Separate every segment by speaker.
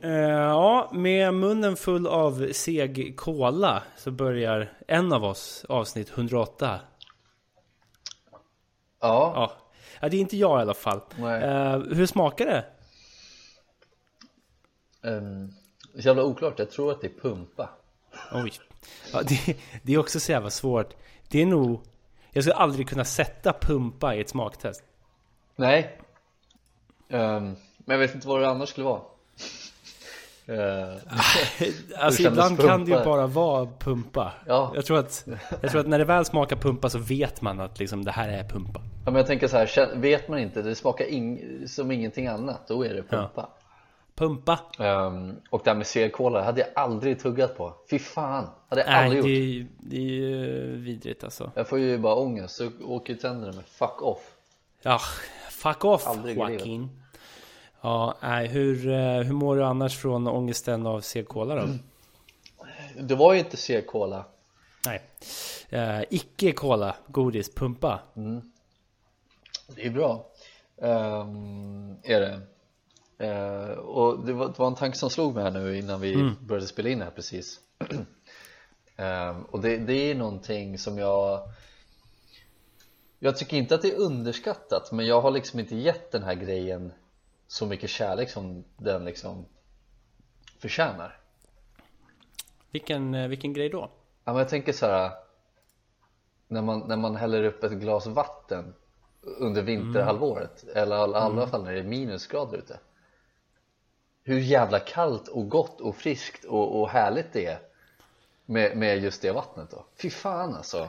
Speaker 1: Eh, ja, med munnen full av seg kola så börjar en av oss avsnitt 108.
Speaker 2: Ja,
Speaker 1: Ja, ja det är inte jag i alla fall.
Speaker 2: Nej.
Speaker 1: Eh, hur smakar det?
Speaker 2: ehm, det är jävla oklart. Jag tror att det är pumpa.
Speaker 1: Oj. Ja, det, det är också så jävla svårt. Det är nog... Jag skulle aldrig kunna sätta pumpa i ett smaktest.
Speaker 2: Nej. Ehm, men jag vet inte vad det annars skulle vara. Ehm,
Speaker 1: Alltså
Speaker 2: kändes
Speaker 1: ibland kan det ju
Speaker 2: pumpa?
Speaker 1: bara vara pumpa.
Speaker 2: Ja.
Speaker 1: Jag, tror att, jag tror att när det väl smakar pumpa så vet man att liksom, det här är pumpa.
Speaker 2: ja, men jag tänker så här, kä- vet man inte, det smakar ing- som ingenting annat, då är det pumpa.
Speaker 1: Pumpa!
Speaker 2: Ehm, och det här med C-cola, hade jag aldrig tuggat på. Fy fan, hade jag
Speaker 1: Nej,
Speaker 2: aldrig
Speaker 1: det
Speaker 2: gjort.
Speaker 1: är, ju- det är ju vidrigt alltså.
Speaker 2: Jag får ju bara ångest, så åker ju tänderna med fuck off.
Speaker 1: Ja, fuck off
Speaker 2: Aldrig i
Speaker 1: Joaquin. Ja, nej, hur, eh, hur mår du annars från ångesten av C-cola då?
Speaker 2: Mm. Det var ju inte C-cola.
Speaker 1: Nej. Eh, Icke-cola, godis, pumpa.
Speaker 2: Det är bra Ehm, Är det Eh, Och det var, det var en tanke som slog mig här nu innan vi började spela in här precis Ehm, Och det, det är någonting som jag Jag tycker inte att det är underskattat men jag har liksom inte gett den här grejen så mycket kärlek som den liksom förtjänar
Speaker 1: Vilken, eh, vilken grej då?
Speaker 2: Ja, men jag tänker så här när man, när man häller upp ett glas vatten under vinterhalvåret eller i alla fall när det är minusgrader ute hur jävla kallt och gott och friskt och, och härligt det är med, med just det vattnet då fy fan alltså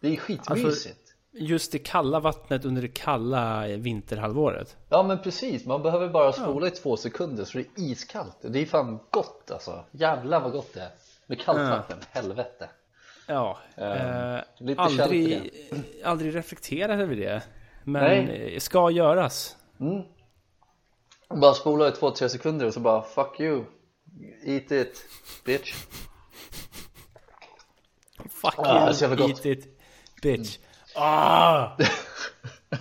Speaker 2: det är skitmysigt
Speaker 1: Just det kalla vattnet under det kalla eh, vinterhalvåret.
Speaker 2: ja men precis man behöver bara spola i två sekunder så det är iskallt det är fan gott alltså jävlar vad gott det är med kallt vatten, helvete
Speaker 1: Ja, eh,
Speaker 2: Ehm, lite kärlek
Speaker 1: aldrig, eh,
Speaker 2: i
Speaker 1: aldrig reflekterat över det. Men
Speaker 2: Nej.
Speaker 1: eh, ska göras.
Speaker 2: Bara spola i två, tre sekunder och så bara fuck you Eat it bitch
Speaker 1: Fuck
Speaker 2: Ah, så jävla
Speaker 1: you,
Speaker 2: gott.
Speaker 1: eat it, bitch. Ah,
Speaker 2: Det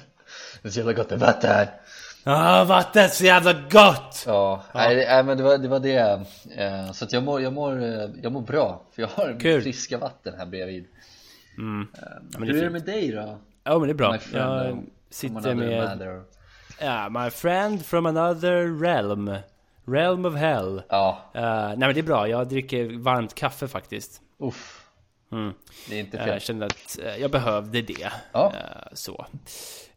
Speaker 2: är så jävla gott med vatten här
Speaker 1: ah, vattnet så jävla gott!
Speaker 2: Ja, Nej, det, nej men det var det, var det. Eh, Så att jag mår, jag, mår, eh, jag mår bra för jag har
Speaker 1: Kul.
Speaker 2: friska vatten här bredvid
Speaker 1: Ja, men det är
Speaker 2: Hur är det
Speaker 1: fint.
Speaker 2: med dig då?
Speaker 1: Ja, men det är bra.
Speaker 2: My friend,
Speaker 1: Jag
Speaker 2: uh,
Speaker 1: sitter
Speaker 2: another
Speaker 1: med...
Speaker 2: matter.
Speaker 1: Ja, my friend from another realm. Realm of hell.
Speaker 2: Ja,
Speaker 1: Eh, nej men det är bra, jag dricker varmt kaffe faktiskt.
Speaker 2: uff
Speaker 1: Mm.
Speaker 2: Det är inte
Speaker 1: Eh,
Speaker 2: fel
Speaker 1: Jag kände att eh, jag behövde det.
Speaker 2: Ja.
Speaker 1: Eh, Så.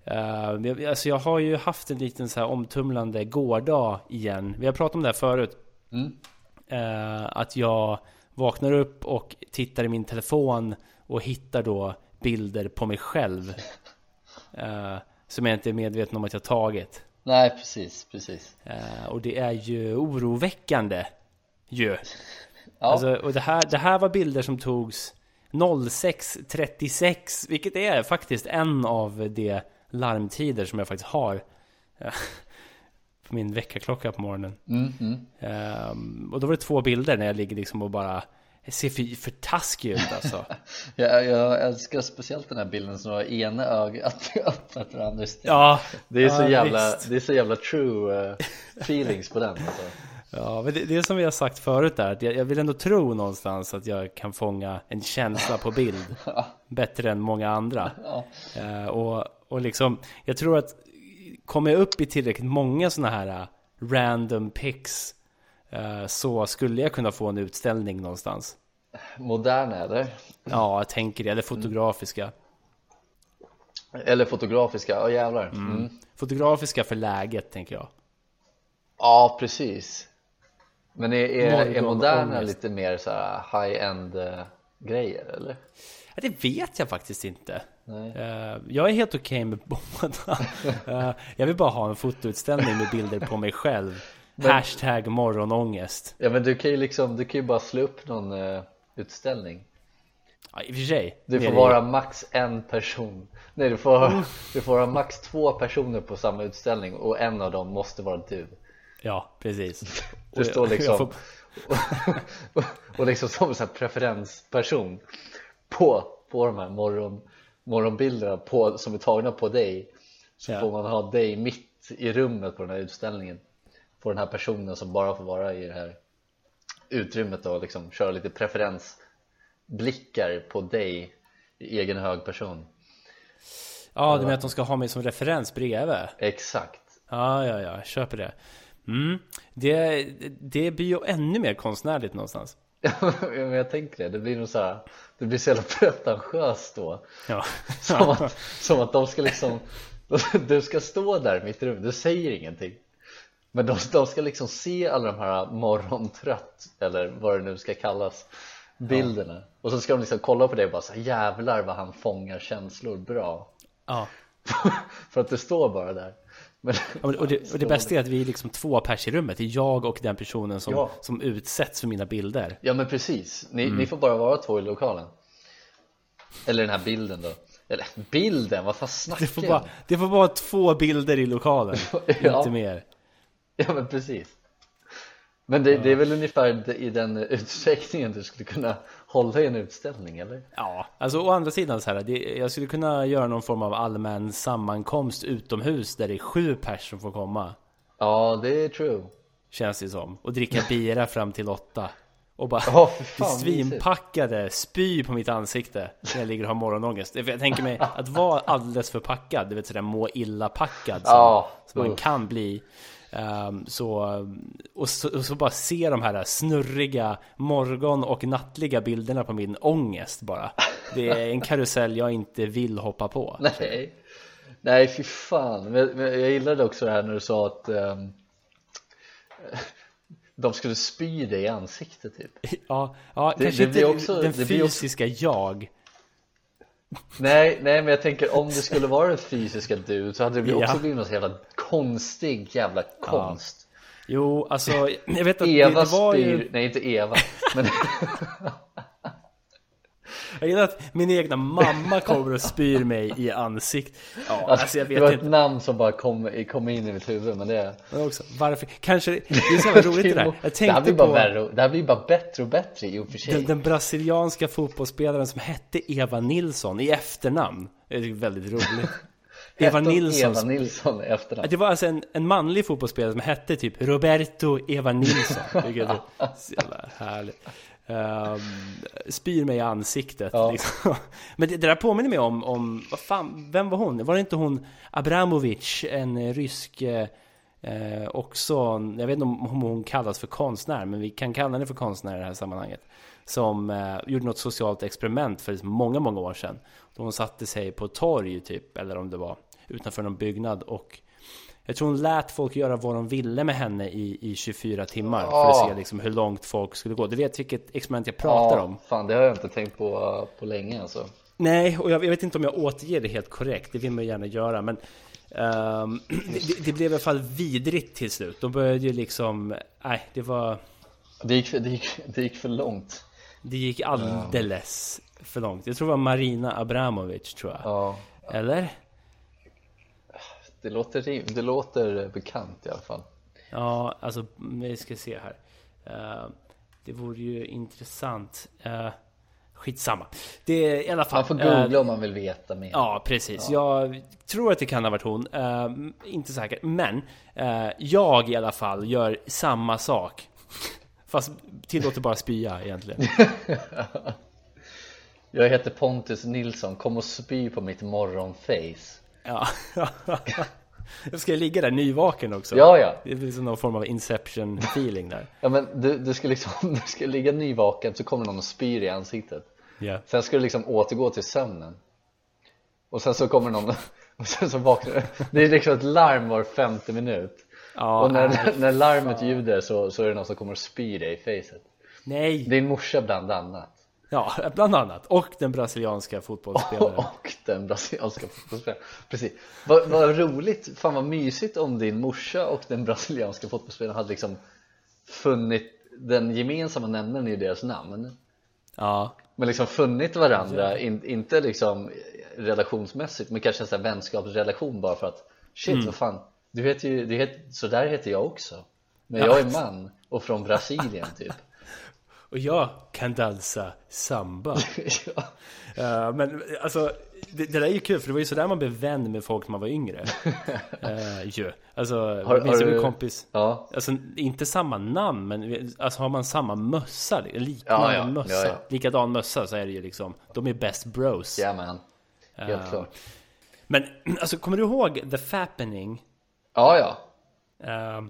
Speaker 1: Eh, jag- Alltså jag har ju haft en liten så här omtumlande gårdag igen. Vi har pratat om det här förut.
Speaker 2: Mm.
Speaker 1: Eh, Att jag vaknar upp och tittar i min telefon och hittar då bilder på mig själv. eh, Som jag inte är medveten om att jag tagit.
Speaker 2: Nej precis, precis
Speaker 1: Eh, Och det är ju oroväckande. Ju.
Speaker 2: Ja,
Speaker 1: Alltså, och det här, det här var bilder som togs 06.36, vilket är faktiskt en av de larmtider som jag faktiskt har eh, på min väckarklocka på morgonen.
Speaker 2: mm, mm.
Speaker 1: Ehm, och då var det två bilder när jag ligger liksom och bara ser för, för taskig ut alltså.
Speaker 2: Jag, jag älskar speciellt den här bilden som har ena ögat öppnat och det andra stängt
Speaker 1: ja,
Speaker 2: Det är, så
Speaker 1: ja,
Speaker 2: jävla,
Speaker 1: visst.
Speaker 2: det är så jävla true eh, feelings på den alltså.
Speaker 1: Ja, men det, det är som vi har sagt förut där, att jag, jag vill ändå tro någonstans att jag kan fånga en känsla på bild bättre än många andra. Eh, och, och liksom, jag tror att kommer jag upp i tillräckligt många sådana här eh, random pics eh, så skulle jag kunna få en utställning någonstans.
Speaker 2: Moderna eller?
Speaker 1: Ja, jag tänker det, eller fotografiska.
Speaker 2: Eller fotografiska, ja jävlar mm.
Speaker 1: Fotografiska för läget tänker jag.
Speaker 2: Ja precis Men är, är, är
Speaker 1: Morgon,
Speaker 2: moderna
Speaker 1: ångest.
Speaker 2: lite mer så här high-end eh, grejer eller?
Speaker 1: Ja, det vet jag faktiskt inte.
Speaker 2: Nej.
Speaker 1: Eh, jag är helt okej med båda. Eh, jag vill bara ha en fotoutställning med bilder på mig själv. Hashtag morgonångest.
Speaker 2: Ja men du kan ju liksom, du kan ju bara slå upp någon eh, utställning
Speaker 1: Ja, i och för sig.
Speaker 2: Det får
Speaker 1: nere i-
Speaker 2: vara max en person Nej du får, du får ha max två personer på samma utställning och en av dem måste vara du
Speaker 1: Ja, precis.
Speaker 2: Du
Speaker 1: Och
Speaker 2: står
Speaker 1: Eh, jag- jag
Speaker 2: liksom
Speaker 1: får-
Speaker 2: och, och liksom som en sån här preferensperson på, på de här morgon, morgonbilderna på, som är tagna på dig så
Speaker 1: Ja.
Speaker 2: får man ha dig mitt i rummet på den här utställningen på den här personen som bara får vara i det här utrymmet och liksom köra lite preferensblickar på dig i egen hög person
Speaker 1: Ja, du menar att de ska ha mig som referens bredvid?
Speaker 2: exakt
Speaker 1: Ja, ja, ja, jag köper det. Mm. Det, det blir ju ännu mer konstnärligt någonstans.
Speaker 2: Ja, men jag tänker det, det blir nog så här, det blir så jävla pretentiöst då
Speaker 1: Ja,
Speaker 2: Som att, som att de ska liksom Du ska stå där mitt i rummet, du säger ingenting Men de, de ska liksom se alla de här morgontrött eller vad det nu ska kallas Bilderna Och så ska de liksom kolla på det och bara så här, jävlar vad han fångar känslor bra
Speaker 1: ja.
Speaker 2: För att det står bara där Men
Speaker 1: Ja, men- Och det, och det bästa är att vi är liksom två pers i rummet. Det är jag och den personen som,
Speaker 2: Ja.
Speaker 1: som utsätts för mina bilder.
Speaker 2: Ja men precis, ni,
Speaker 1: Mm.
Speaker 2: ni får bara vara två i lokalen Eller den här bilden då Eller bilden, vad fan
Speaker 1: Det
Speaker 2: snackar
Speaker 1: får,
Speaker 2: jag om?
Speaker 1: bara, det får bara två bilder i lokalen,
Speaker 2: Ja.
Speaker 1: inte mer.
Speaker 2: Ja men precis Men det, det är väl ungefär i den utsträckningen du skulle kunna hålla i en utställning eller?
Speaker 1: Ja, alltså å andra sidan så här, det, jag skulle kunna göra någon form av allmän sammankomst utomhus där det är sju pers som får komma.
Speaker 2: Ja det är true
Speaker 1: Känns det som. Och dricka bira fram till åtta. Och bara
Speaker 2: Ja, för fan,
Speaker 1: bli svinpackade,
Speaker 2: typ-"
Speaker 1: spy på mitt ansikte när jag ligger och har morgonångest. För Jag tänker mig att vara alldeles för packad, du vet sådär må illa-packad som,
Speaker 2: Ja,
Speaker 1: som man
Speaker 2: usch.
Speaker 1: kan bli. Ehm, så, och så, och så bara se de här snurriga morgon och nattliga bilderna på min ångest bara. Det är en karusell jag inte vill hoppa på.
Speaker 2: Nej Nej fy fan, men, men jag gillade också det här när du sa att ehm, de skulle spy dig i ansiktet typ
Speaker 1: Ja, ja
Speaker 2: Det-
Speaker 1: kanske
Speaker 2: det blir
Speaker 1: inte
Speaker 2: också-
Speaker 1: den
Speaker 2: det blir också-
Speaker 1: fysiska jag.
Speaker 2: Nej, nej men jag tänker om det skulle vara det fysiska du så hade det
Speaker 1: Ja.
Speaker 2: också blivit någon så jävla konstig jävla konst
Speaker 1: Jo, alltså jag vet att det,
Speaker 2: Eva
Speaker 1: det var
Speaker 2: spyr,
Speaker 1: ju...
Speaker 2: nej inte Eva men
Speaker 1: Jag gillar att min egna mamma kommer och spyr mig i ansikt Ja, alltså jag
Speaker 2: det var
Speaker 1: vet
Speaker 2: ett
Speaker 1: inte
Speaker 2: namn som bara kom, kom in i mitt huvud men det
Speaker 1: Men också, Varför? Kanske, det är så jävla roligt det där Jag
Speaker 2: här
Speaker 1: tänkte
Speaker 2: blir bara
Speaker 1: på
Speaker 2: värre, och- det här blir bara bättre och bättre i och för sig
Speaker 1: den, den brasilianska fotbollsspelaren som hette Eva Nilsson i efternamn Det är väldigt roligt
Speaker 2: Hette
Speaker 1: Eva
Speaker 2: hon
Speaker 1: Nilsson
Speaker 2: Eva Nilsson i efternamn
Speaker 1: Det var alltså en, en manlig fotbollsspelare som hette typ Roberto Eva Nilsson Vilket är så jävla härligt Ehm, Spyr mig i ansiktet liksom. Men det, det där påminner mig om, om vad fan, vem var hon? Var det inte hon Abramovic, en eh, rysk eh, eh, också, jag vet inte om om hon kallas för konstnär, men vi kan kalla henne för konstnär i det här sammanhanget. Som eh, gjorde något socialt experiment för många, många år sedan. Då hon satte sig på ett torg typ, eller om det var utanför någon byggnad och jag tror hon lät folk göra vad de ville med henne i, i 24 timmar för att
Speaker 2: Ja.
Speaker 1: se liksom hur långt folk skulle gå. Du vet vilket experiment jag pratar om?
Speaker 2: fan det har jag inte tänkt på eh, på länge alltså
Speaker 1: Nej, och jag, jag vet inte om jag återger det helt korrekt. Det vill man gärna göra, men ehm, det, det blev i alla fall vidrigt till slut. De började ju liksom, nej, det var,
Speaker 2: det gick, för- det, gick, det gick för långt
Speaker 1: det gick alldeles för långt. Jag tror det var Marina Abramovic, tror jag.
Speaker 2: ja,
Speaker 1: Eller?
Speaker 2: det låter, rim- det låter eh, bekant i alla fall
Speaker 1: Ja, alltså vi ska se här. Eh, det vore ju intressant. Uh, skitsamma. Det är i alla fall.
Speaker 2: man får
Speaker 1: eh,
Speaker 2: googla om man vill veta mer
Speaker 1: Ja, precis. Jag tror att det kan ha varit hon. Eh, inte säker. Men eh, jag i alla fall gör samma sak. Fast tillåter bara spya egentligen.
Speaker 2: jag heter Pontus Nilsson, kom och spy på mitt morgonface
Speaker 1: Ja. Jag ska ligga där nyvaken också.
Speaker 2: Ja, ja.
Speaker 1: Det är liksom någon form av inception feeling där.
Speaker 2: ja men du, du ska liksom, du ska ligga nyvaken så kommer någon och spyr i ansiktet
Speaker 1: Ja.
Speaker 2: Sen ska du liksom återgå till sömnen Och sen så kommer någon och sen så vaknar du Det är liksom ett larm var femte minut
Speaker 1: Ja,
Speaker 2: Och när, när larmet ljuder så, så är det någon som kommer och spyr dig i facet
Speaker 1: Nej.
Speaker 2: Din morsa bland annat
Speaker 1: Ja, bland annat. Och den brasilianska fotbollsspelaren.
Speaker 2: Och den brasilianska fotbollsspelaren Precis, vad, vad roligt, fan vad mysigt om din morsa och den brasilianska fotbollsspelaren hade liksom funnit den gemensamma nämnaren i deras namn
Speaker 1: Ja,
Speaker 2: Men liksom funnit varandra, in, inte liksom relationsmässigt men kanske en sån här vänskapsrelation bara för att shit vad fan, du heter ju, du heter, så där heter jag också men jag är man och från Brasilien typ
Speaker 1: och jag kan dansa samba.
Speaker 2: ja.
Speaker 1: Eh, men alltså, det, det där är ju kul för det var ju sådär man blev vän med folk när man var yngre. Uh, ju. Alltså,
Speaker 2: Har-
Speaker 1: minns jag
Speaker 2: har du-
Speaker 1: min kompis.
Speaker 2: ja,
Speaker 1: Alltså inte samma namn men vi- alltså har man samma mössa, en liknande
Speaker 2: Ja, ja.
Speaker 1: mössa,
Speaker 2: Ja, ja.
Speaker 1: likadan mössa så är det ju liksom, de är best bros.
Speaker 2: ja man, helt klart
Speaker 1: Men alltså kommer du ihåg The Fappening?
Speaker 2: ja ja,
Speaker 1: Eh,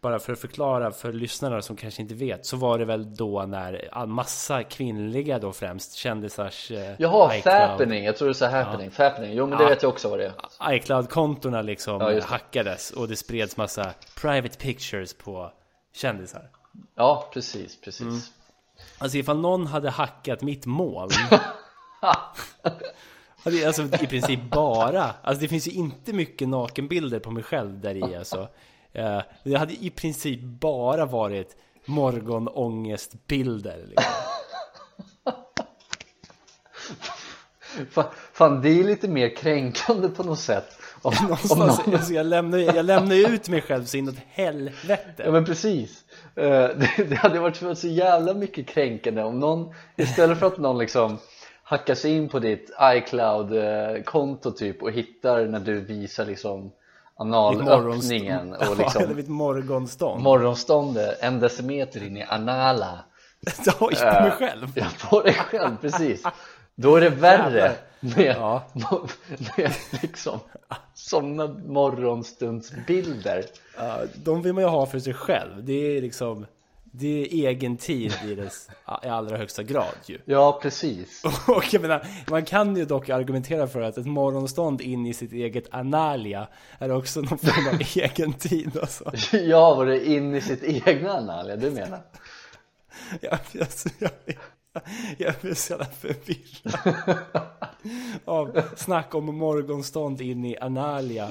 Speaker 1: bara för att förklara för lyssnarna som kanske inte vet så var det väl då när all- massa kvinnliga då främst kändisars eh,
Speaker 2: jaha
Speaker 1: iCloud-
Speaker 2: fappening, jag tror du sa happening, fappening, jo men det vet jag också vad det är
Speaker 1: iCloud-kontona liksom
Speaker 2: Ja, just det.
Speaker 1: hackades och det spreds massa private pictures på kändisar.
Speaker 2: ja precis, precis
Speaker 1: Alltså ifall någon hade hackat mitt moln hade jag Alltså i princip bara Alltså det finns ju inte mycket nakenbilder på mig själv där i alltså Eh, Det hade i princip bara varit morgonångestbilder liksom.
Speaker 2: Fan, fan det är lite mer kränkande på något sätt om, om någon
Speaker 1: Någonstans, alltså, jag lämnar ju jag lämnar ju ut mig själv så inåt helvete
Speaker 2: Ja men precis. Eh, Det, det hade varit så jävla mycket kränkande om någon istället för att någon liksom hackar sig in på ditt iCloud-konto typ och hittar när du visar liksom
Speaker 1: Mitt
Speaker 2: analöppningen
Speaker 1: morgonstånd.
Speaker 2: och
Speaker 1: Ja, eller
Speaker 2: liksom
Speaker 1: mitt morgonstånd
Speaker 2: morgonståndet en decimeter in i anala
Speaker 1: Oj, på mig själv
Speaker 2: ja, på dig själv, precis. Då är det värre
Speaker 1: Jävlar.
Speaker 2: med,
Speaker 1: Ja.
Speaker 2: med liksom sådana morgonstundsbilder.
Speaker 1: Ja, de vill man ju ha för sig själv. Det är liksom det är egen tid i, dess, i allra högsta grad ju.
Speaker 2: Ja, precis.
Speaker 1: Och jag menar, man kan ju dock argumentera för att ett morgonstånd in i sitt eget analia är också någon form av egen tid alltså.
Speaker 2: Ja, var det in i sitt egna analia du menar?
Speaker 1: Jag, jag, jag, jag blir så jävla förvirrad av snack om morgonstånd in i analia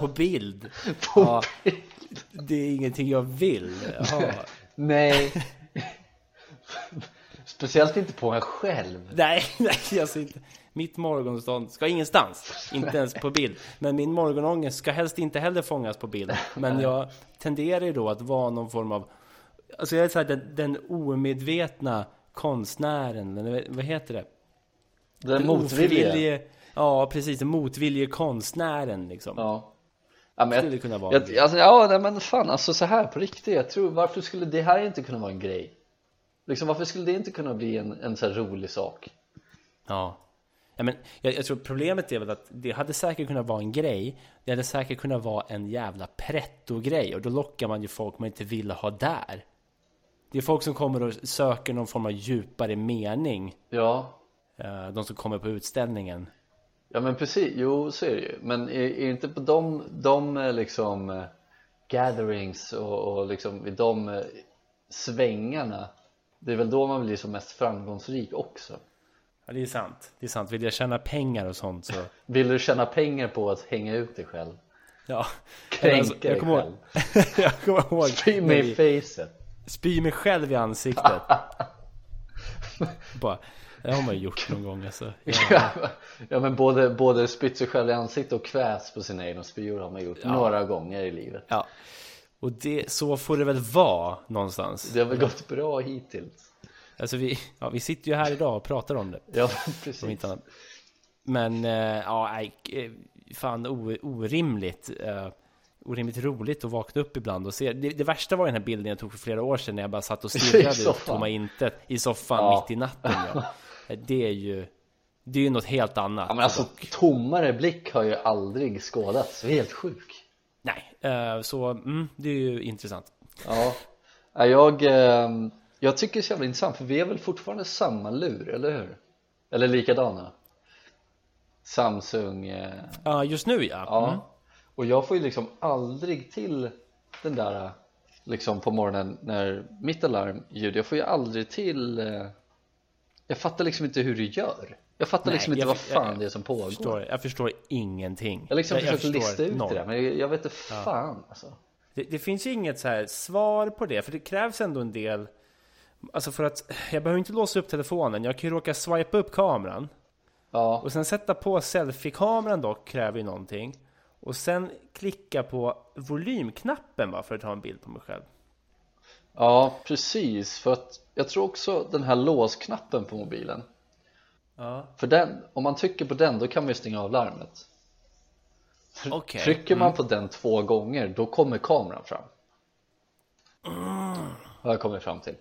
Speaker 1: på bild. Ja, det är ingenting jag vill. Jaha.
Speaker 2: Nej. Speciellt inte på en själv.
Speaker 1: Nej, nej, alltså inte. Mitt morgonstånd ska ingenstans, inte ens på bild. Men min morgonångest ska helst inte heller fångas på bild. Men jag tenderar ju då att vara någon form av, alltså jag är så här, den, den omedvetna konstnären, eller vad heter det?
Speaker 2: Den
Speaker 1: Den
Speaker 2: motvillige.
Speaker 1: ofrivillige- Ja, precis, den motvillige konstnären liksom.
Speaker 2: Ja. Ja, men
Speaker 1: Skulle
Speaker 2: jag,
Speaker 1: kunna vara en
Speaker 2: jag, alltså, ja, nej, men fan alltså så här på riktigt. Jag tror, varför skulle det här inte kunna vara en grej? Liksom, varför skulle det inte kunna bli en, en så här rolig sak?
Speaker 1: Ja. ja men jag, jag tror problemet är väl att det hade säkert kunnat vara en grej. Det hade säkert kunnat vara en jävla pretto-grej. Och då lockar man ju folk man inte vill ha där. Det är folk som kommer och söker någon form av djupare mening.
Speaker 2: Ja,
Speaker 1: eh, De som kommer på utställningen.
Speaker 2: ja men precis. Jo, så är det ju. Men är, är inte på de, de eh, liksom eh, gatherings och, och liksom i de eh, svängarna. Det är väl då man blir som mest framgångsrik också.
Speaker 1: Ja, det är sant. Det är sant. Vill jag tjäna pengar och sånt så...
Speaker 2: Vill du tjäna pengar på att hänga ut dig själv?
Speaker 1: Ja.
Speaker 2: Kränka dig
Speaker 1: alltså, jag kommer ihåg...
Speaker 2: själv.
Speaker 1: jag kommer ihåg...
Speaker 2: Spy mig
Speaker 1: när
Speaker 2: i
Speaker 1: vi-
Speaker 2: facet.
Speaker 1: Spy mig själv i ansiktet. Bara, det har man ju gjort någon gång alltså.
Speaker 2: Ja. men både, både spytt sig själv i ansiktet och kvävs på sina egna spyor har man gjort några gånger i livet.
Speaker 1: Ja. Och det, så får det väl vara någonstans.
Speaker 2: Det har väl gått bra hittills?
Speaker 1: Alltså vi, ja, vi sitter ju här idag och pratar om det.
Speaker 2: Ja,
Speaker 1: Om
Speaker 2: precis.
Speaker 1: inte annat. Men eh, ja, nej, eh, fan o, orimligt. eh, Orimligt roligt att vakna upp ibland och se. Det, det värsta var den här bilden jag tog för flera år sedan när jag bara satt och
Speaker 2: I
Speaker 1: stirrade ut
Speaker 2: soffan.
Speaker 1: tomma intet i soffan
Speaker 2: Ja.
Speaker 1: mitt i natten. Ja. Eh, Det är ju, det är ju något helt annat.
Speaker 2: Ja, men alltså tommare blick har ju aldrig skådats. Det är helt sjuk.
Speaker 1: Nej, eh, så mm, det är ju intressant.
Speaker 2: Ja, Ja, jag, ehm, jag tycker det är så jävla intressant för vi är väl fortfarande samma lur, eller hur? Eller likadana? Samsung eh,
Speaker 1: Ja, just nu ja.
Speaker 2: Ja, och jag får ju liksom aldrig till den där liksom på morgonen när mitt alarmljud, jag får ju aldrig till eh, jag fattar liksom inte hur du gör jag fattar
Speaker 1: Nej,
Speaker 2: liksom inte
Speaker 1: jag
Speaker 2: vad
Speaker 1: för- jag-
Speaker 2: fan det är som pågår
Speaker 1: Jag förstår, jag förstår ingenting.
Speaker 2: jag liksom försöker
Speaker 1: förstår
Speaker 2: lista ut
Speaker 1: noll.
Speaker 2: det där men jag- jag vet inte fan alltså.
Speaker 1: Det, det finns ju inget så här svar på det, för det krävs ändå en del Alltså för att jag behöver inte låsa upp telefonen. Jag kan ju råka swipa upp kameran.
Speaker 2: Ja,
Speaker 1: Och sen sätta på selfie-kameran dock kräver ju någonting. Och sen klicka på volymknappen va, för att ta en bild på mig själv.
Speaker 2: ja precis för att jag tror också den här låsknappen på mobilen
Speaker 1: Ja.
Speaker 2: För den, om man trycker på den då kan man ju stänga av larmet
Speaker 1: Okej.
Speaker 2: Trycker man på den två gånger då kommer kameran fram Har jag kommit fram till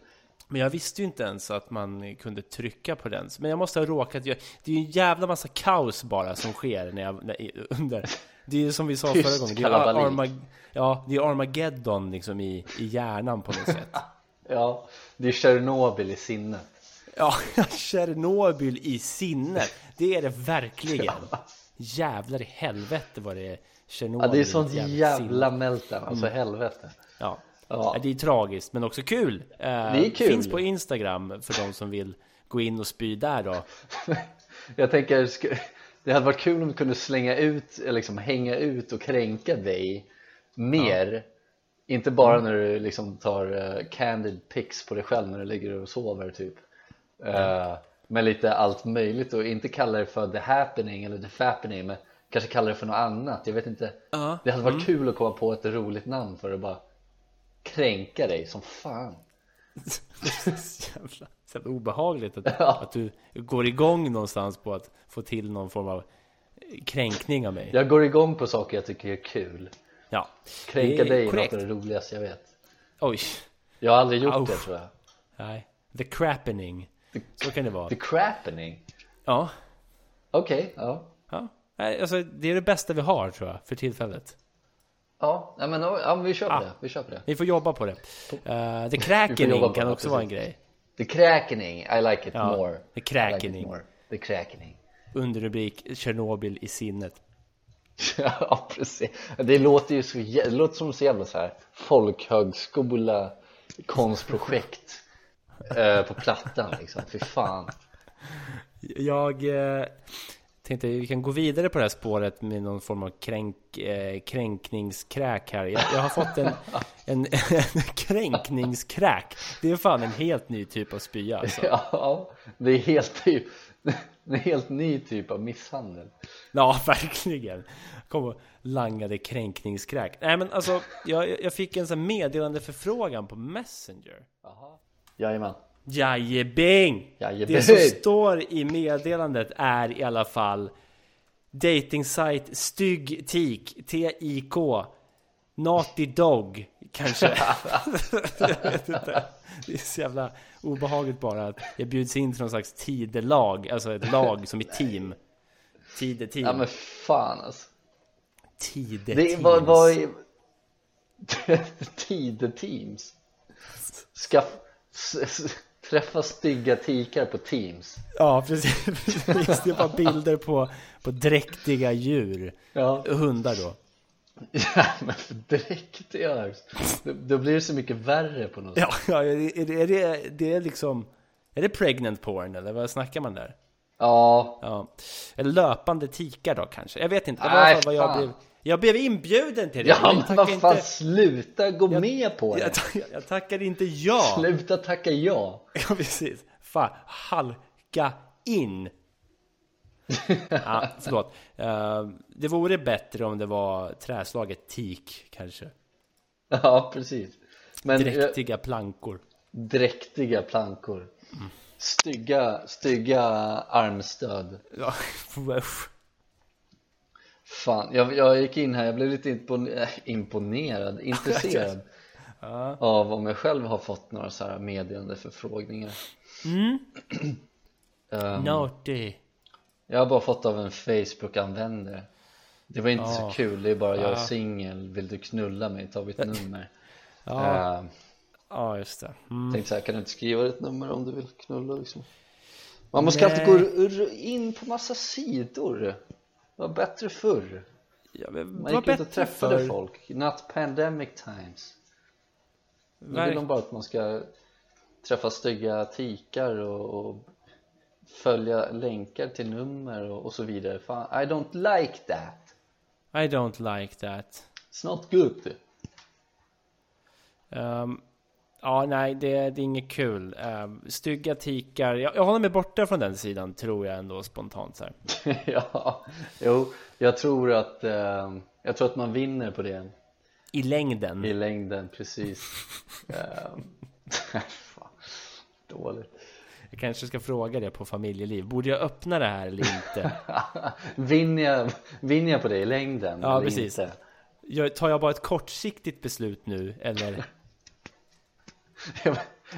Speaker 1: Men jag visste ju inte ens att man kunde trycka på den. Men jag måste ha råkat göra... Det är ju en jävla massa kaos bara som sker när jag... När, i- under. Det är ju som vi sa
Speaker 2: Tyst
Speaker 1: förra gången. Det är ju
Speaker 2: kalabalik.
Speaker 1: Armag- ja, det är Armageddon liksom i, i hjärnan på något sätt.
Speaker 2: Ja, det är Tjernobyl i sinnet
Speaker 1: Ja, Tjernobyl i sinnet. Det är det verkligen. Jävlar i helvete vad det är Tjernobyl.
Speaker 2: Ja det är
Speaker 1: i
Speaker 2: sånt
Speaker 1: jävligt
Speaker 2: jävla
Speaker 1: sinne.
Speaker 2: meltdown, alltså helvete
Speaker 1: Ja.
Speaker 2: Ja.
Speaker 1: Ja. Det är tragiskt men också kul. Det
Speaker 2: är kul.
Speaker 1: Finns på Instagram för de som vill gå in och spy där då.
Speaker 2: Jag tänker, sk- det hade varit kul om du kunde slänga ut, eller liksom hänga ut och kränka dig mer Inte bara
Speaker 1: Mm.
Speaker 2: när du liksom tar eh, candid pics på dig själv när du ligger och sover typ Eh, Med lite allt möjligt och inte kalla det för the happening eller the fappening men kanske kalla det för något annat, jag vet inte
Speaker 1: Ja. Mm.
Speaker 2: Det hade varit kul att komma på ett roligt namn för att bara kränka dig som fan
Speaker 1: Så jävla, så jävla obehagligt att, att du går igång någonstans på att få till någon form av kränkning av mig.
Speaker 2: Jag går igång på saker jag tycker är kul
Speaker 1: Ja. Det
Speaker 2: Kränka
Speaker 1: är
Speaker 2: dig är något
Speaker 1: korrekt.
Speaker 2: av det roligaste jag vet
Speaker 1: Oj.
Speaker 2: Jag har aldrig gjort
Speaker 1: Au.
Speaker 2: det tror jag
Speaker 1: Nej. The crappening. Så kan det vara.
Speaker 2: The crappening?
Speaker 1: Ja.
Speaker 2: Okej, ja
Speaker 1: Ja, Nej, alltså, det är det bästa vi har tror jag för tillfället.
Speaker 2: Ja, nej, men, ja men vi
Speaker 1: Ah.
Speaker 2: köper det, vi köper det
Speaker 1: Vi får jobba på det. Uh, the
Speaker 2: Vi får jobba på
Speaker 1: crackening kan
Speaker 2: det,
Speaker 1: också vara en
Speaker 2: precis.
Speaker 1: grej.
Speaker 2: The crackening, I like it
Speaker 1: Ja, the
Speaker 2: more I like it
Speaker 1: crackening.
Speaker 2: more. The crackening
Speaker 1: Under rubrik Tjernobyl i sinnet.
Speaker 2: Ja precis, det låter ju så jä- det låter som så jävla så här folkhögskola konstprojekt eh, på plattan liksom, fy fan
Speaker 1: Jag eh, tänkte vi kan gå vidare på det här spåret med någon form av kränk, eh, kränkningskräk här. Jag, jag har fått en, en, en kränkningskräk. Det är fan en helt ny typ av spya. Alltså.
Speaker 2: Ja, det är helt typ det är en helt ny typ av misshandel
Speaker 1: Ja, verkligen. Kom och langade kränkningskräk. Nej, men alltså, jag, jag fick en sån här meddelande förfrågan på Messenger.
Speaker 2: Jajamän
Speaker 1: Jajebing!
Speaker 2: Jajebing!
Speaker 1: Det som står i meddelandet är i alla fall Dating-site Styggtik T-I-K Naughty Dog kanske Jag vet inte. Det är så jävla obehagligt bara att jag bjuds in till någon slags tidelag Alltså ett lag som är team Tideteam
Speaker 2: Ja men fan alltså Det
Speaker 1: Tideteams
Speaker 2: var, var i... Tideteams Skaff... s- s- Träffa stygga tikar på Teams
Speaker 1: Ja precis, precis. det var bilder på, på dräktiga djur
Speaker 2: Ja,
Speaker 1: Hundar då
Speaker 2: ja men för direkt i örs. Då- Då blir det så mycket värre på något sätt
Speaker 1: Ja, ja är, det, är, det, är, det, det är liksom... Är det pregnant porn eller vad snackar man där?
Speaker 2: Ja,
Speaker 1: Ja. Eller löpande tikar då kanske? Jag vet inte. Det var i
Speaker 2: Nej,
Speaker 1: alla fall vad jag
Speaker 2: fan.
Speaker 1: blev... Jag blev inbjuden till det.
Speaker 2: ja men
Speaker 1: jag
Speaker 2: vad fan
Speaker 1: inte,
Speaker 2: sluta gå med på det
Speaker 1: jag, ta- jag tackade inte ja.
Speaker 2: Sluta tacka ja
Speaker 1: Ja, precis. Fan, halka in. Ja, förlåt. Eh, det vore bättre om det var träslaget tik kanske.
Speaker 2: Ja precis Men eh,
Speaker 1: Dräktiga plankor.
Speaker 2: dräktiga plankor Stygga, stygga armstöd
Speaker 1: Ja, usch.
Speaker 2: Fan, jag, jag gick in här, jag blev lite impon- äh, imponerad, intresserad av om jag själv har fått några så här meddelande förfrågningar Ehm.
Speaker 1: Naughty.
Speaker 2: Jag har bara fått av en Facebook-användare Det var inte så kul, det är bara jag är singel, vill du knulla mig, ta mitt nummer uh,
Speaker 1: Ja, just det. Mm.
Speaker 2: Tänkte såhär, kan du inte skriva ditt nummer om du vill knulla liksom? Man måste alltid gå
Speaker 1: Nej.
Speaker 2: ur- in på massa sidor Det var bättre förr
Speaker 1: Ja, men
Speaker 2: Man
Speaker 1: vad
Speaker 2: gick ut och
Speaker 1: bättre
Speaker 2: träffade
Speaker 1: förr.
Speaker 2: folk, not pandemic times Nu vill
Speaker 1: Verk-
Speaker 2: de bara att man ska träffa stygga tikar och, och följa länkar till nummer och, och så vidare. Fan, I don't like that.
Speaker 1: I don't like that.
Speaker 2: It's not good.
Speaker 1: Ehm, Ja, nej, det, det är inget kul. Uh, stygga tikar. Jag, jag håller mig borta från den sidan, tror jag ändå spontant så här.
Speaker 2: ja, jo, jag tror att eh, jag tror att man vinner på det
Speaker 1: I längden.
Speaker 2: i längden, precis. Eh, fan, Dåligt.
Speaker 1: Jag kanske ska fråga det på familjeliv. Borde jag öppna det här eller inte?
Speaker 2: Vinner jag, vinner jag på det i längden?
Speaker 1: Ja,
Speaker 2: eller
Speaker 1: precis.
Speaker 2: inte?
Speaker 1: Jag, tar jag bara ett kortsiktigt beslut nu eller?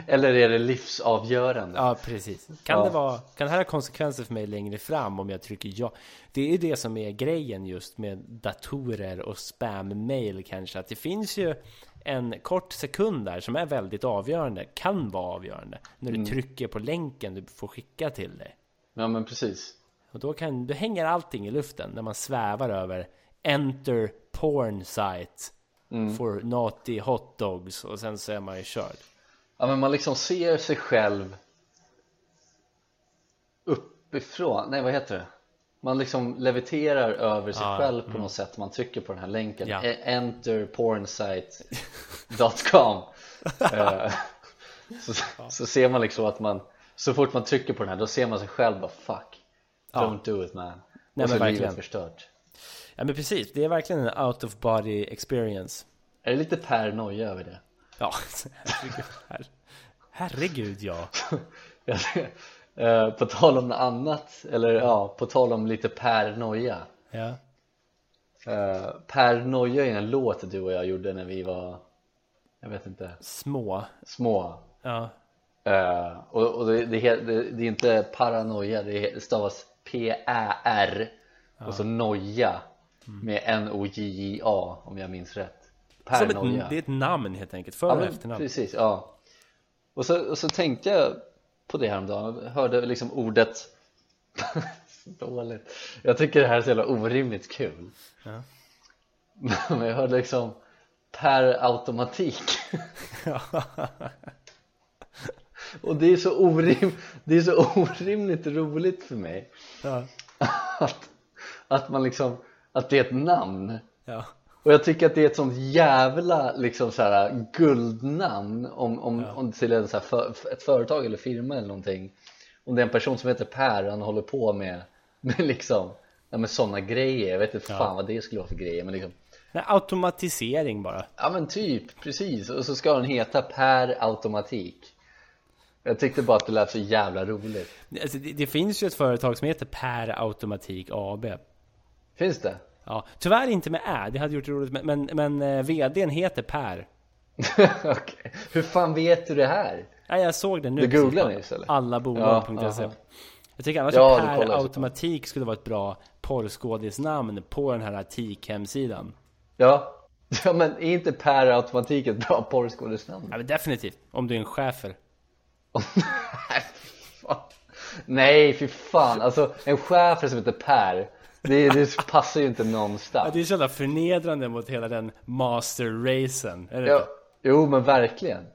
Speaker 2: Eller är det livsavgörande?
Speaker 1: Ja, precis. Kan
Speaker 2: Ja.
Speaker 1: det vara, kan det här ha konsekvenser för mig längre fram om jag trycker ja? Det är det som är grejen just med datorer och spam-mail kanske. Att det finns ju en kort sekund där som är väldigt avgörande, kan vara avgörande. När du trycker på länken du får skicka till dig.
Speaker 2: Ja, men precis.
Speaker 1: Och då, kan, då hänger allting i luften när man svävar över Enter porn site for naughty hot dogs och sen så är man ju körd.
Speaker 2: Ja, men man liksom ser sig själv uppifrån, nej vad heter det? Man liksom leviterar över sig
Speaker 1: Ja, Mm.
Speaker 2: själv på något sätt man trycker på den här länken
Speaker 1: Ja.
Speaker 2: E- enterpornsite.com Eh, så, så ser man liksom att man, så fort man trycker på den här då ser man sig själv bara fuck Don't do it man
Speaker 1: men
Speaker 2: Och så är
Speaker 1: verkligen.
Speaker 2: livet förstört
Speaker 1: Ja men precis, det är verkligen en out of body experience.
Speaker 2: Är det lite paranoia över det?
Speaker 1: Ja, herregud, her, herregud ja.
Speaker 2: Eh, på tal om något annat, eller ja, på tal om lite paranoia
Speaker 1: ja.
Speaker 2: Uh, per Noja är en låt du och jag gjorde när vi var, jag vet inte,
Speaker 1: Små.
Speaker 2: små
Speaker 1: Ja.
Speaker 2: Eh, Och, och det, det, he- det, det är inte paranoia, det he- stavas P-Ä-R och så noja med N-O-J-J-A om jag minns rätt
Speaker 1: Som ett,
Speaker 2: Paranoia
Speaker 1: det är ett namn helt enkelt, för
Speaker 2: Ja,
Speaker 1: och
Speaker 2: men
Speaker 1: efternamn.
Speaker 2: Precis, ja och så, och så tänkte jag på det häromdagen, hörde liksom ordet Dåligt Jag tycker det här är så jävla orimligt kul
Speaker 1: Ja.
Speaker 2: Men jag hörde liksom per automatik Och det är så orim, det är så orimligt roligt för mig
Speaker 1: Ja.
Speaker 2: att, att man liksom, att det är ett namn
Speaker 1: Ja.
Speaker 2: och jag tycker att det är ett sånt jävla liksom så här, guldnamn om, om, om till en, så här, för, för- ett företag eller firma eller någonting Om det är en person som heter Per och han håller på med, med liksom Ja men sådana grejer, jag vet inte fan vad det skulle vara för grejer men liksom
Speaker 1: Nej, automatisering bara.
Speaker 2: Ja men typ, precis och så ska den heta Per automatik Jag tyckte bara att det lät så jävla roligt
Speaker 1: Alltså, det, det finns ju ett företag som heter Per Automatik AB.
Speaker 2: Finns det?
Speaker 1: Ja, tyvärr inte med Ä, det hade gjort det roligt. Men, men, men eh, VDn heter Per.
Speaker 2: Okej. Hur fan vet du det här?
Speaker 1: Ja, jag såg den nu.
Speaker 2: Du googlade
Speaker 1: precis på
Speaker 2: nyss, eller? Ja,
Speaker 1: Allabolag.se
Speaker 2: aha.
Speaker 1: E. Jag tycker annars
Speaker 2: Ja,
Speaker 1: att
Speaker 2: du
Speaker 1: Per
Speaker 2: kollade så.
Speaker 1: Automatik skulle vara ett bra porrskådisnamn på den här TIK-hemsidan.
Speaker 2: Ja, ja men är inte Per automatik ett bra porrskådisnamn?
Speaker 1: Ja, men definitivt. Om du är en chefer.
Speaker 2: Nej, fy fan. Nej, fy fan. Alltså en schäfer som heter Per, det, det passar ju inte
Speaker 1: Ja,
Speaker 2: någonstans.
Speaker 1: det är så jävla förnedrande mot hela den master-racen. Är det
Speaker 2: Ja,
Speaker 1: inte?
Speaker 2: jo, men verkligen.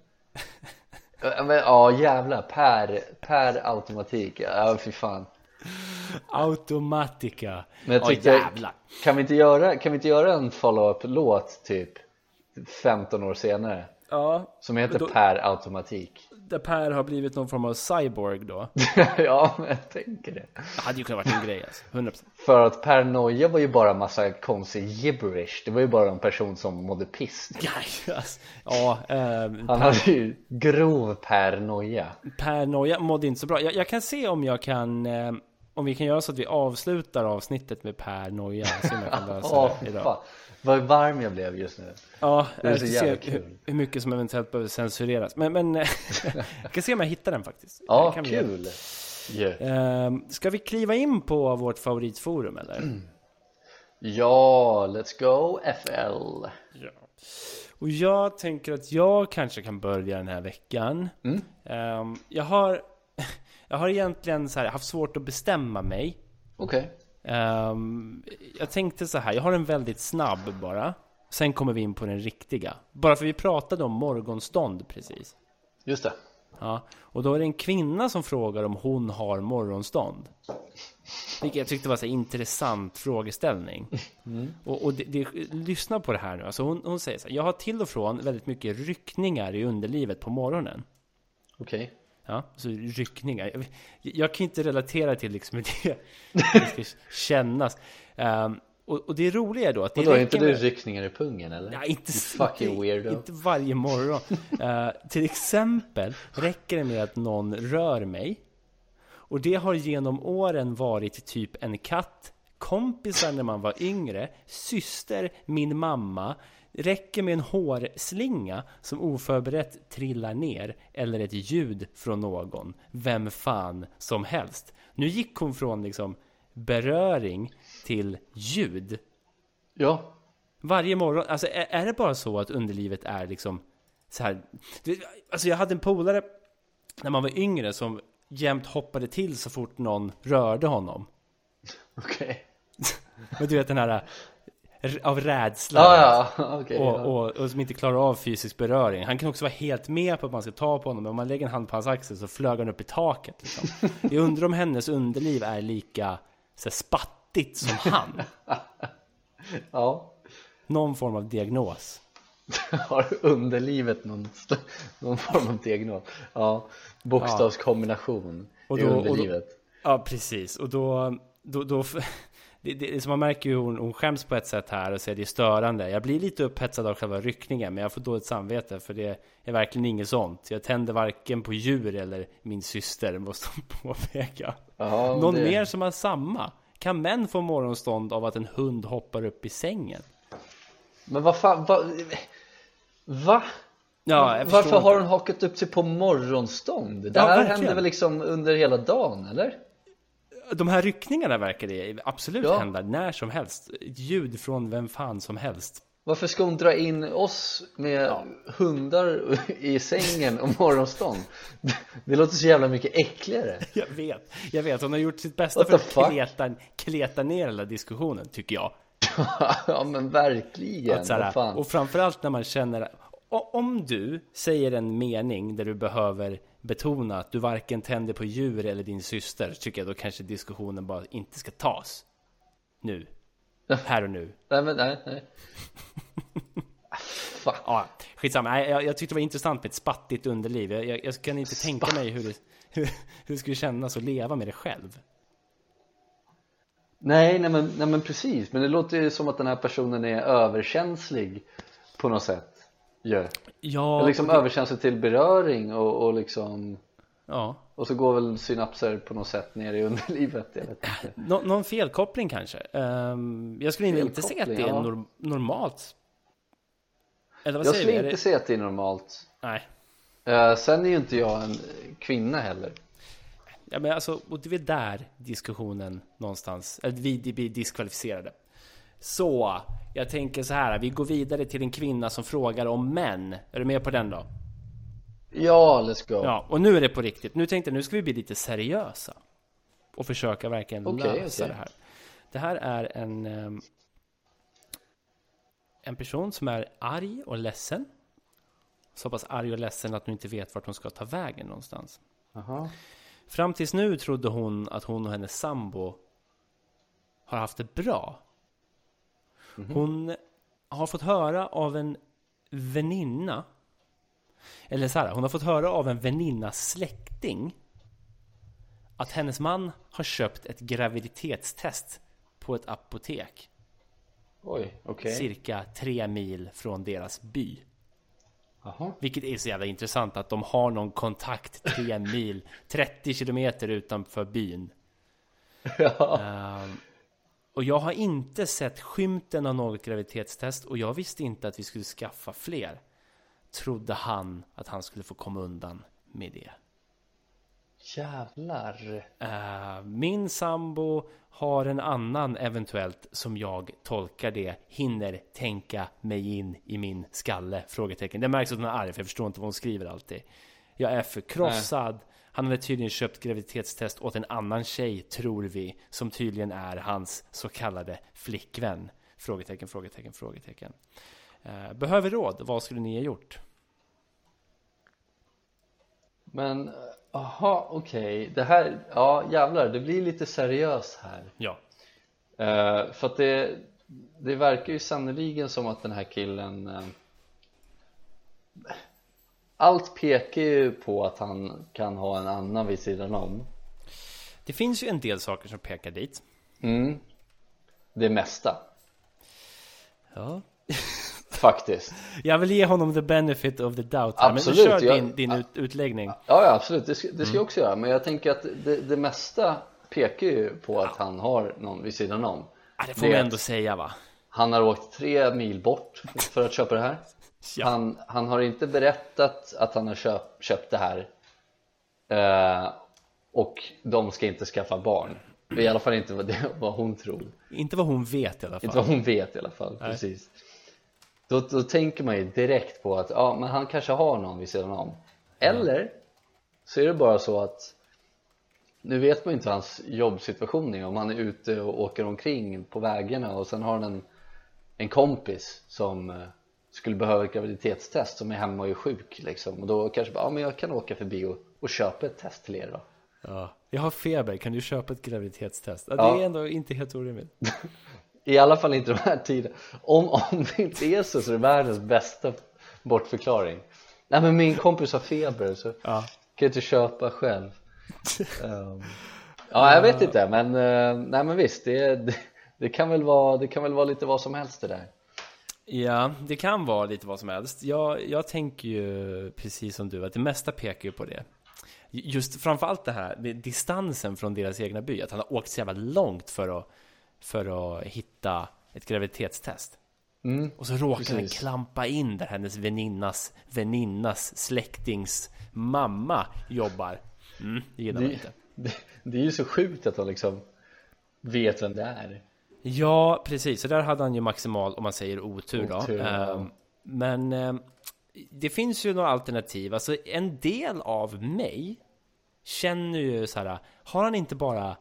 Speaker 2: Ja, men, ja, jävlar. Per, per automatik. Ja, fy fan.
Speaker 1: Automatica.
Speaker 2: Men jag
Speaker 1: Ja,
Speaker 2: tyckte,
Speaker 1: jävlar.
Speaker 2: kan vi inte göra, kan vi inte göra en follow-up-låt typ 15 år senare?
Speaker 1: Ja,
Speaker 2: Som heter
Speaker 1: Men då-
Speaker 2: Per automatik.
Speaker 1: där Per har blivit någon form av cyborg då.
Speaker 2: ja, men jag tänker det.
Speaker 1: Det hade ju kunnat varit en grej alltså. 100%.
Speaker 2: För att paranoia var ju bara massa konstig gibberish Det var ju bara en person som mådde piss
Speaker 1: Ja, alltså. Ja, ehm,
Speaker 2: Han hade ju grov paranoia
Speaker 1: Pernoja mådde inte så bra. Jag, jag kan se om jag kan... Eh, om vi kan göra så att vi avslutar avsnittet med Pernoja. Se om jag kan lösa
Speaker 2: Åh,
Speaker 1: det idag.
Speaker 2: fan. Vad varm jag blev just nu
Speaker 1: Ja,
Speaker 2: är
Speaker 1: jag
Speaker 2: så
Speaker 1: ska
Speaker 2: jävla
Speaker 1: se
Speaker 2: kul.
Speaker 1: hur, hur mycket som eventuellt behöver censureras. Men, men eh, jag kan se om jag hittar den faktiskt.
Speaker 2: Ja,
Speaker 1: Det kan vi göra.
Speaker 2: kul yeah.
Speaker 1: Ehm, ska vi kliva in på vårt favoritforum eller?
Speaker 2: Ja, let's go FL
Speaker 1: Ja. Och jag tänker att jag kanske kan börja den här veckan. Ehm, jag, har, jag har egentligen så här, haft svårt att bestämma mig.
Speaker 2: Okej
Speaker 1: Ehm, jag tänkte så här, jag har en väldigt snabb bara. Sen kommer vi in på den riktiga. Bara för vi pratade om morgonstånd precis.
Speaker 2: Just det
Speaker 1: Ja, och då är det en kvinna som frågar om hon har morgonstånd. Vilket jag tyckte var så här intressant frågeställning.
Speaker 2: Mm.
Speaker 1: Och, och det, det, lyssna på det här nu. Alltså hon, hon säger så här, jag har till och från väldigt mycket ryckningar i underlivet på morgonen.
Speaker 2: Okej.
Speaker 1: Ja, så ryckningar. Jag, jag kan inte relatera till liksom hur det, hur det ska kännas. Ehm, och, och det roliga är då att det
Speaker 2: Vadå, är
Speaker 1: räcker
Speaker 2: inte
Speaker 1: med-
Speaker 2: du ryckningar i pungen eller?
Speaker 1: Nej, inte,
Speaker 2: You fucking
Speaker 1: inte,
Speaker 2: weirdo.
Speaker 1: inte varje morgon. Eh, till exempel räcker det med att någon rör mig. Och det har genom åren varit typ en katt, kompisar när man var yngre, syster, min mamma. Räcker med en hårslinga som oförberett trillar ner eller ett ljud från någon, vem fan som helst. Nu gick hon från liksom beröring till ljud.
Speaker 2: Ja,
Speaker 1: Varje morgon, alltså är, är det bara så att underlivet är liksom så här? Du, alltså jag hade en polare när man var yngre som jämt hoppade till så fort någon rörde honom.
Speaker 2: okej.
Speaker 1: Men du vet den här r- av rädsla.
Speaker 2: Ah, ja, okej.
Speaker 1: Och,
Speaker 2: ja.
Speaker 1: och, och som inte klarar av fysisk beröring. Han kan också vara helt med på att man ska ta på honom. Men om man lägger en hand på hans axel så flög han upp i taket. Liksom. Jag undrar om hennes underliv är lika så här, spattigt som han.
Speaker 2: ja.
Speaker 1: Någon form av diagnos.
Speaker 2: Har underlivet någon, sl- någon form av diagnos? Ja, bokstavskombination
Speaker 1: Och
Speaker 2: i
Speaker 1: då- och då-
Speaker 2: underlivet.
Speaker 1: Ja, precis. Och då... då, då det, det, så man märker ju hon, hon skäms på ett sätt här och säger det är störande. Jag blir lite upphetsad av själva ryckningen, men jag får dåligt samvete för det är verkligen inget sånt. Jag tänder varken på djur eller min syster, måste hon påpeka.
Speaker 2: Ja,
Speaker 1: Någon
Speaker 2: det-
Speaker 1: mer som har samma? Kan män få morgonstånd av att en hund hoppar upp i sängen?
Speaker 2: Men vad fan, vad? Va?
Speaker 1: Ja, jag förstår
Speaker 2: Varför har
Speaker 1: inte.
Speaker 2: hon hakat upp sig på morgonstånd? Det
Speaker 1: Ja,
Speaker 2: här
Speaker 1: verkligen.
Speaker 2: händer väl liksom under hela dagen, eller?
Speaker 1: De här ryckningarna verkar det absolut
Speaker 2: Ja.
Speaker 1: hända när som helst. Ett ljud från vem fan som helst.
Speaker 2: Varför ska hon dra in oss med hundar i sängen och morgonstånd? Det låter så jävla mycket äckligare
Speaker 1: Jag vet, jag vet. Hon har gjort sitt bästa
Speaker 2: What
Speaker 1: för
Speaker 2: the
Speaker 1: att
Speaker 2: fuck?
Speaker 1: kleta, kleta ner hela diskussionen, tycker jag.
Speaker 2: Ja men verkligen,
Speaker 1: Att så
Speaker 2: vad
Speaker 1: här,
Speaker 2: fan
Speaker 1: och framförallt när man känner... o- Om du säger en mening där du behöver betona att du varken tänder på djur eller din syster, tycker jag då kanske diskussionen bara inte ska tas. Nu. Här och nu.
Speaker 2: Nej men nej, nej Ah, Fuck,
Speaker 1: Ja, skitsamma. Nej, Jag, jag tyckte det var intressant med ett spattigt underliv. Jag, jag, jag kan inte tänka mig hur det, hur, hur det skulle kännas att leva med det själv.
Speaker 2: nej, nej, men, nej men precis, men det låter ju som att den här personen är överkänslig på något sätt ju.
Speaker 1: Ja,
Speaker 2: Liksom överkänslig till beröring och, och liksom
Speaker 1: ja.
Speaker 2: Och så går väl synapser på något sätt ner i underlivet, jag vet inte
Speaker 1: Nå någon felkoppling kanske? Ehm, jag skulle inte säga att det är
Speaker 2: Felkoppling, ja.
Speaker 1: norm normalt. Eller vad
Speaker 2: Jag
Speaker 1: säger vi?
Speaker 2: skulle
Speaker 1: Är det-
Speaker 2: inte säga att det är normalt
Speaker 1: Nej.
Speaker 2: Eh, Sen är ju inte jag en kvinna heller
Speaker 1: Ja, men alltså, och det är väl där diskussionen någonstans, att vi blir diskvalificerade. Så, jag tänker så här, vi går vidare till en kvinna som frågar om män. Är du med på den då?
Speaker 2: Ja, let's go
Speaker 1: Ja, och nu är det på riktigt. Nu tänkte jag, nu ska vi bli lite seriösa. Och försöka verkligen
Speaker 2: Okej,
Speaker 1: lösa
Speaker 2: okej.
Speaker 1: det här. Det här är en... ehm, En person som är arg och ledsen. Så pass arg och ledsen att hon inte vet vart hon ska ta vägen någonstans.
Speaker 2: Aha.
Speaker 1: Fram tills nu trodde hon att hon och hennes sambo har haft det bra. Hon har fått höra av en väninna. Eller så här, hon har fått höra av en väninnas släkting. Att hennes man har köpt ett graviditetstest på ett apotek.
Speaker 2: Oj, okej
Speaker 1: Cirka tre mil från deras by.
Speaker 2: Jaha.
Speaker 1: Vilket är så jävla intressant att de har någon kontakt tre mil, 30 kilometer utanför byn.
Speaker 2: Ja.
Speaker 1: Ehm, och jag har inte sett skymten av något graviditetstest och jag visste inte att vi skulle skaffa fler. Trodde han att han skulle få komma undan med det.
Speaker 2: Jävlar
Speaker 1: Eh, min sambo har en annan eventuellt som jag tolkar det hinner tänka mig in i min skalle? Frågetecken. Det märks att hon är arg för jag förstår inte vad hon skriver alltid. Jag är förkrossad. Han hade tydligen köpt graviditetstest åt en annan tjej tror vi som tydligen är hans så kallade flickvän. Frågetecken, frågetecken, frågetecken. Eh, behöver råd. Vad skulle ni ha gjort?
Speaker 2: Men aha, okej, det här, ja jävlar, det blir lite seriöst här
Speaker 1: Ja.
Speaker 2: Eh, För att det, det verkar ju sannoliken som att den här killen eh, Allt pekar ju på att han kan ha en annan vid sidan om
Speaker 1: Det finns ju en del saker som pekar dit.
Speaker 2: mm. Det mesta,
Speaker 1: Ja.
Speaker 2: faktiskt
Speaker 1: Jag vill ge honom the benefit of the doubt här,
Speaker 2: Absolut,
Speaker 1: men kör
Speaker 2: jag-
Speaker 1: din, din ut, utläggning.
Speaker 2: Ja, ja absolut, det ska, det ska jag också göra Men jag tänker att det, det mesta pekar ju på att han har någon vid sidan om
Speaker 1: Ja, Ah, det får
Speaker 2: Det-
Speaker 1: man ändå säga va?
Speaker 2: Han har åkt tre mil bort för att köpa det här
Speaker 1: Ja.
Speaker 2: han, han har inte berättat att han har köp, köpt det här eh, Och de ska inte skaffa barn I alla fall inte vad, det, vad hon tror
Speaker 1: Inte vad hon vet i alla
Speaker 2: Inte
Speaker 1: fall.
Speaker 2: vad hon vet i alla fall, precis då, då tänker man ju direkt på att ja, men han kanske har någon vid sidan om Eller så är det bara så att Nu vet man ju inte hur hans jobbsituation är Om han är ute och åker omkring på vägarna och sen har han en, en kompis som eh, skulle behöva ett graviditetstest som är hemma och är sjuk liksom. Och då kanske bara, ja men jag kan åka förbi och, och köpa ett test till er då
Speaker 1: Ja. Jag har feber, kan du köpa ett graviditetstest? Ja,
Speaker 2: Ja.
Speaker 1: Det är ändå inte helt orimligt.
Speaker 2: I alla fall inte i de här tiderna. Om, om det inte är så så är det världens bästa bortförklaring. Nej men min kompis har feber så
Speaker 1: Ja.
Speaker 2: kan jag inte köpa själv. Ehm, ja jag vet inte men, eh, nej men visst det, det, det, kan väl vara, det kan väl vara lite vad som helst det där.
Speaker 1: Ja, det kan vara lite vad som helst. Jag, jag tänker ju precis som du att det mesta pekar ju på det. Just framförallt det här, det- distansen från deras egna by, att han har åkt så jävla långt för att, för att hitta ett graviditetstest.
Speaker 2: Mm.
Speaker 1: Och så råkar han
Speaker 2: Precis.
Speaker 1: klampa in där hennes väninnas, väninnas släktings mamma jobbar. Mm, det gillar man
Speaker 2: Det,
Speaker 1: inte.
Speaker 2: det, det är ju så sjukt att de liksom vet vem det är.
Speaker 1: Ja, precis. Så där hade han ju maximal, om man säger otur då.
Speaker 2: Otur, ja.
Speaker 1: Ehm, Men ehm, det finns ju några alternativ. Alltså en del av mig känner ju så här, har han inte bara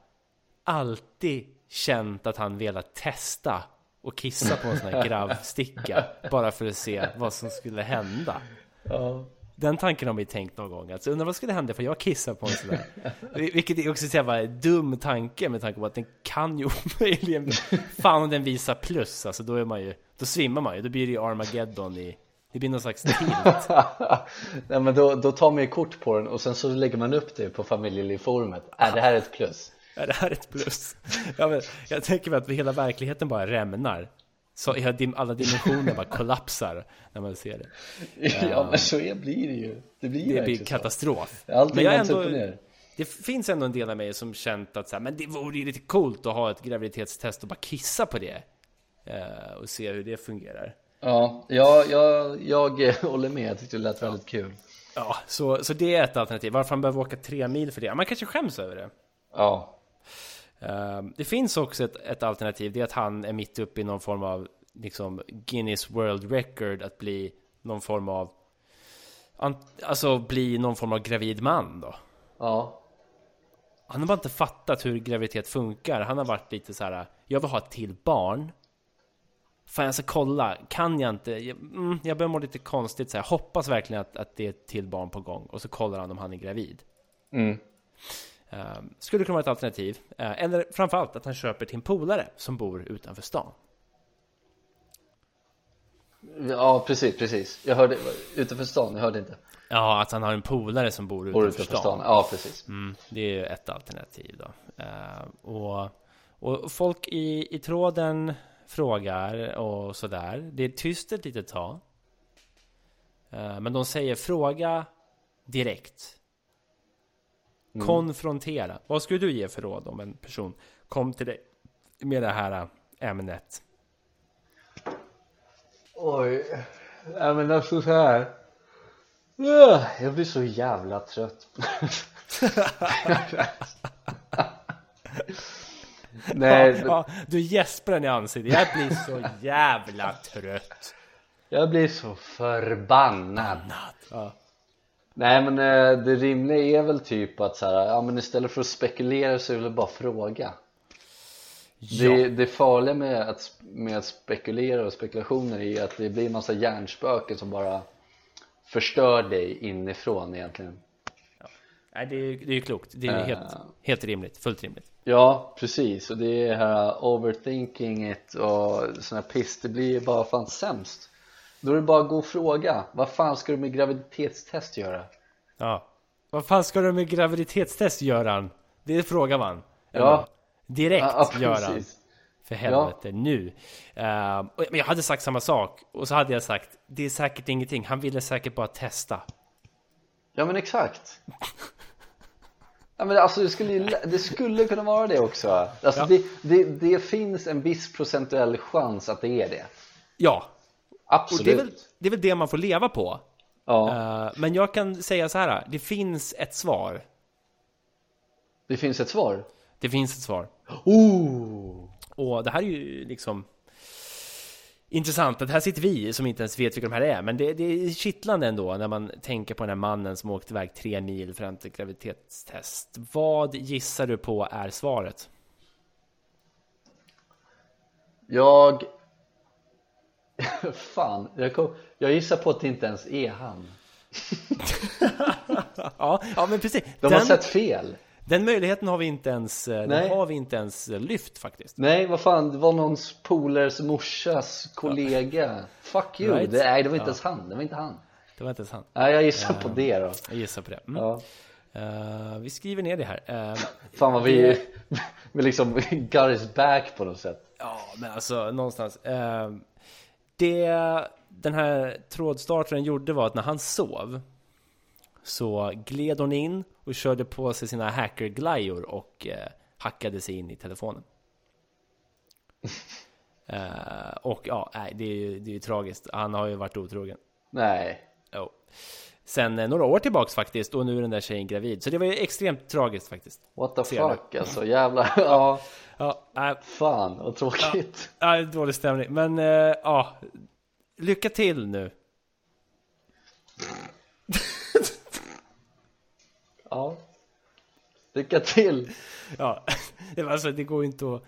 Speaker 1: alltid känt att han velat testa och kissa på en sån här gravsticka bara för att se vad som skulle hända?
Speaker 2: Ja.
Speaker 1: Den tanken har man ju tänkt någon gång. Alltså, undrar vad skulle hända för jag kissar på en sån där. Vil- Vilket är också en så jävla dum tanke med tanke på att den kan ju omöjligen... Fan om den visar plus, alltså då är man ju... Då svimmar man ju, då blir det ju Armageddon i... Det blir någon slags tilt.
Speaker 2: Nej men då, då tar man ju kort på den och sen så lägger man upp det på familjelivforumet. Äh, det här är ett plus.
Speaker 1: Är det här ett plus? Ja, men, jag tänker mig att hela verkligheten bara rämnar. Så hela dim- alla dimensioner bara kollapsar när man ser det.
Speaker 2: Ja men så är, blir det ju. Det blir ju
Speaker 1: Det blir
Speaker 2: verkligen så.
Speaker 1: katastrof.
Speaker 2: Allting
Speaker 1: jag
Speaker 2: vänds upp och ner.
Speaker 1: Det finns ändå en del av mig som känt att så här, men det vore ju lite coolt att ha ett graviditetstest och bara kissa på det. eh, och se hur det fungerar.
Speaker 2: Ja, jag, jag, jag eh, håller med. Jag tyckte det lät väldigt kul.
Speaker 1: Ja, så, så det är ett alternativ. Varför han behöver åka tre mil för det? Ja, Man kanske skäms över det.
Speaker 2: Ja,
Speaker 1: Eh, det finns också ett, ett alternativ. Det är att han är mitt uppe i någon form av liksom, Guinness World Record att bli någon form av an- Alltså bli någon form av gravid man då.
Speaker 2: ja,
Speaker 1: Han har bara inte fattat hur graviditet funkar. Han har varit lite så här. Jag vill ha ett till barn. Fan, jag ska kolla. Kan jag inte? Jag, mm, jag börjar må lite konstigt. Så här. Hoppas verkligen att, att det är ett till barn på gång. Och så kollar han om han är gravid.
Speaker 2: Mm.
Speaker 1: Ehm, skulle kunna vara ett alternativ. Uh, eller framförallt att han köper till en polare som bor utanför stan.
Speaker 2: ja precis, precis. Jag hörde utanför stan, jag hörde inte.
Speaker 1: Ja, att han har en polare som bor
Speaker 2: Bor
Speaker 1: utanför,
Speaker 2: utanför
Speaker 1: stan.
Speaker 2: stan, ja precis.
Speaker 1: Mm, det är ju ett alternativ då. Eh, och, och folk i, i tråden frågar och sådär. Det är tyst ett litet tag. Eh, men de säger fråga direkt.
Speaker 2: Mm.
Speaker 1: Konfrontera. Vad skulle du ge för råd om en person kom till dig med det här eh, ämnet?
Speaker 2: Oj, ja, men alltså så här. Ah, Jag blir så jävla trött. Nej,
Speaker 1: Ja, du gäspar i ansiktet. Jag blir så jävla trött.
Speaker 2: jag blir så förbannad.
Speaker 1: Ja.
Speaker 2: Nej men eh, det rimliga är väl typ att så här, ja men istället för att spekulera så är det väl bara fråga det, det farliga med att, med att spekulera och spekulationer är att det blir en massa hjärnspöken som bara förstör dig inifrån egentligen
Speaker 1: Nej, det är, det är ju klokt. Det är ju helt,
Speaker 2: Eh.
Speaker 1: helt rimligt. Fullt rimligt.
Speaker 2: Ja, precis. Och det är här overthinking it och sån här piss, det blir ju bara fan sämst. Då är det bara att gå och fråga. Vad fan ska du med graviditetstest göra?
Speaker 1: Ja. Vad fan ska du med graviditetstest, Göran? Det frågar man.
Speaker 2: Ja.
Speaker 1: Direkt,
Speaker 2: Ja, ja,
Speaker 1: Göran.
Speaker 2: precis.
Speaker 1: För helvete, nu. Eh, och- men jag hade sagt samma sak. Och så hade jag sagt, det är säkert ingenting. Han ville säkert bara testa.
Speaker 2: Ja, men exakt. Ja, men alltså, det, skulle ju, det skulle kunna vara det också. Alltså, det, det, det finns en viss procentuell chans att det är det.
Speaker 1: Ja. Och
Speaker 2: Absolut.
Speaker 1: det är, väl, det är väl det man får leva på.
Speaker 2: Ja,
Speaker 1: Eh, men jag kan säga så här. Det finns ett svar.
Speaker 2: det finns ett svar.
Speaker 1: Det finns ett svar.
Speaker 2: Oh!
Speaker 1: Och det här är ju liksom intressant att här sitter vi som inte ens vet vilka de här är. Men det, det är kittlande ändå när man tänker på den här mannen som åkte iväg tre mil fram till graviditetstest. Vad gissar du på är svaret?
Speaker 2: Jag... Fan, jag, kom... jag gissar på att det inte ens är han.
Speaker 1: Ja, ja men precis.
Speaker 2: De
Speaker 1: Den,
Speaker 2: har sett fel.
Speaker 1: den möjligheten har vi inte ens, eh,
Speaker 2: Nej.
Speaker 1: den har vi inte ens eh, lyft faktiskt.
Speaker 2: Nej, vad fan, det var någons polers morsas kollega. Fuck you.
Speaker 1: Right.
Speaker 2: Det, nej, det var inte ens han. Det var inte han.
Speaker 1: Det var inte ens han.
Speaker 2: Nej, jag gissar på det då.
Speaker 1: Jag gissar på det. Mm.
Speaker 2: Ja.
Speaker 1: Eh, vi skriver ner det här. Eh,
Speaker 2: Fan vad vi, vi liksom got his back på något sätt
Speaker 1: Ja, men alltså någonstans. Eh, det den här trådstartaren gjorde var att när han sov så gled hon in och körde på sig sina hackerglajjor och eh, hackade sig in i telefonen. Eh, och ja, nej, det är ju det är ju tragiskt. Han har ju varit otrogen.
Speaker 2: Nej,
Speaker 1: Jo. Sen eh, några år tillbaks faktiskt och nu är den där tjejen gravid. Så det var ju extremt tragiskt faktiskt.
Speaker 2: what the
Speaker 1: Ser du?
Speaker 2: fuck alltså jävla, ja
Speaker 1: Ja, nej,
Speaker 2: fan vad tråkigt
Speaker 1: nej, dålig stämning. Men eh, ja, lycka till nu.
Speaker 2: ja. Lycka till!
Speaker 1: Ja, det, var alltså, det går ju inte att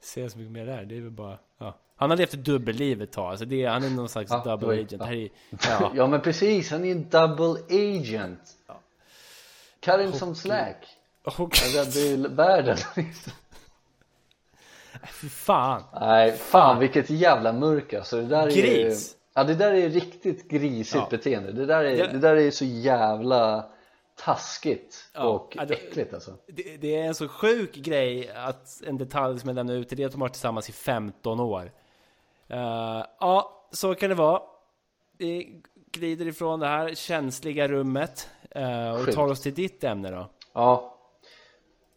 Speaker 1: säga så mycket mer där. Det är väl bara... Ja. Han har levt ett dubbelliv ett tag. Alltså det, är- han är någon slags
Speaker 2: Ja, det var
Speaker 1: double
Speaker 2: ju-
Speaker 1: agent.
Speaker 2: ja.
Speaker 1: Det Här är,
Speaker 2: Ja.
Speaker 1: ja.
Speaker 2: men precis, han är ju en double agent Cut him som slack,
Speaker 1: Och,
Speaker 2: han räddade ju världen
Speaker 1: fy fan.
Speaker 2: Nej, fan vilket jävla mörker alltså det där är ju-
Speaker 1: Gris.
Speaker 2: Ja det där är riktigt grisigt
Speaker 1: Ja.
Speaker 2: beteende, det där, är,
Speaker 1: Det-
Speaker 2: det där är så jävla taskigt
Speaker 1: Ja,
Speaker 2: och
Speaker 1: ja, det-
Speaker 2: äckligt alltså
Speaker 1: Det, det är en så sjuk grej att en detalj som jag lämnar ut är det att de har varit tillsammans i 15 år. Eh, ja, så kan det vara. Vi glider ifrån det här känsliga rummet eh, och
Speaker 2: Sjukt.
Speaker 1: tar oss till ditt ämne då.
Speaker 2: Ja,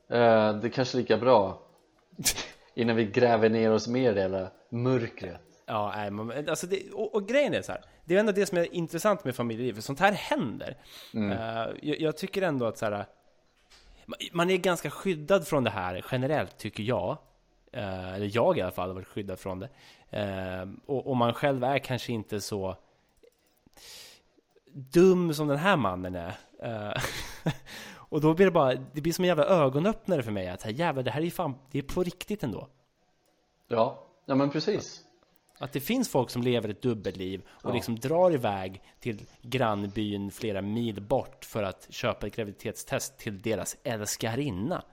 Speaker 2: eh, det är kanske är lika bra innan vi gräver ner oss mer i det hela mörkret.
Speaker 1: Ja, nej, men, alltså det, och, och grejen är så här. Det är ändå det som är intressant med familjeliv, för sånt här händer. Eh, jag, jag tycker ändå att så här, man, man är ganska skyddad från det här generellt, tycker jag. Eh, eller jag i alla fall har varit skyddad från det. Eh, och, och man själv är kanske inte så dum som den här mannen är. Eh, och då blir det bara, det blir som en jävla ögonöppnare för mig. Att så här, jävlar, det här är ju fan, det är på riktigt ändå.
Speaker 2: Ja, ja men precis.
Speaker 1: Att det finns folk som lever ett dubbelliv och liksom drar iväg till grannbyn flera mil bort för att köpa ett graviditetstest till deras älskarinna.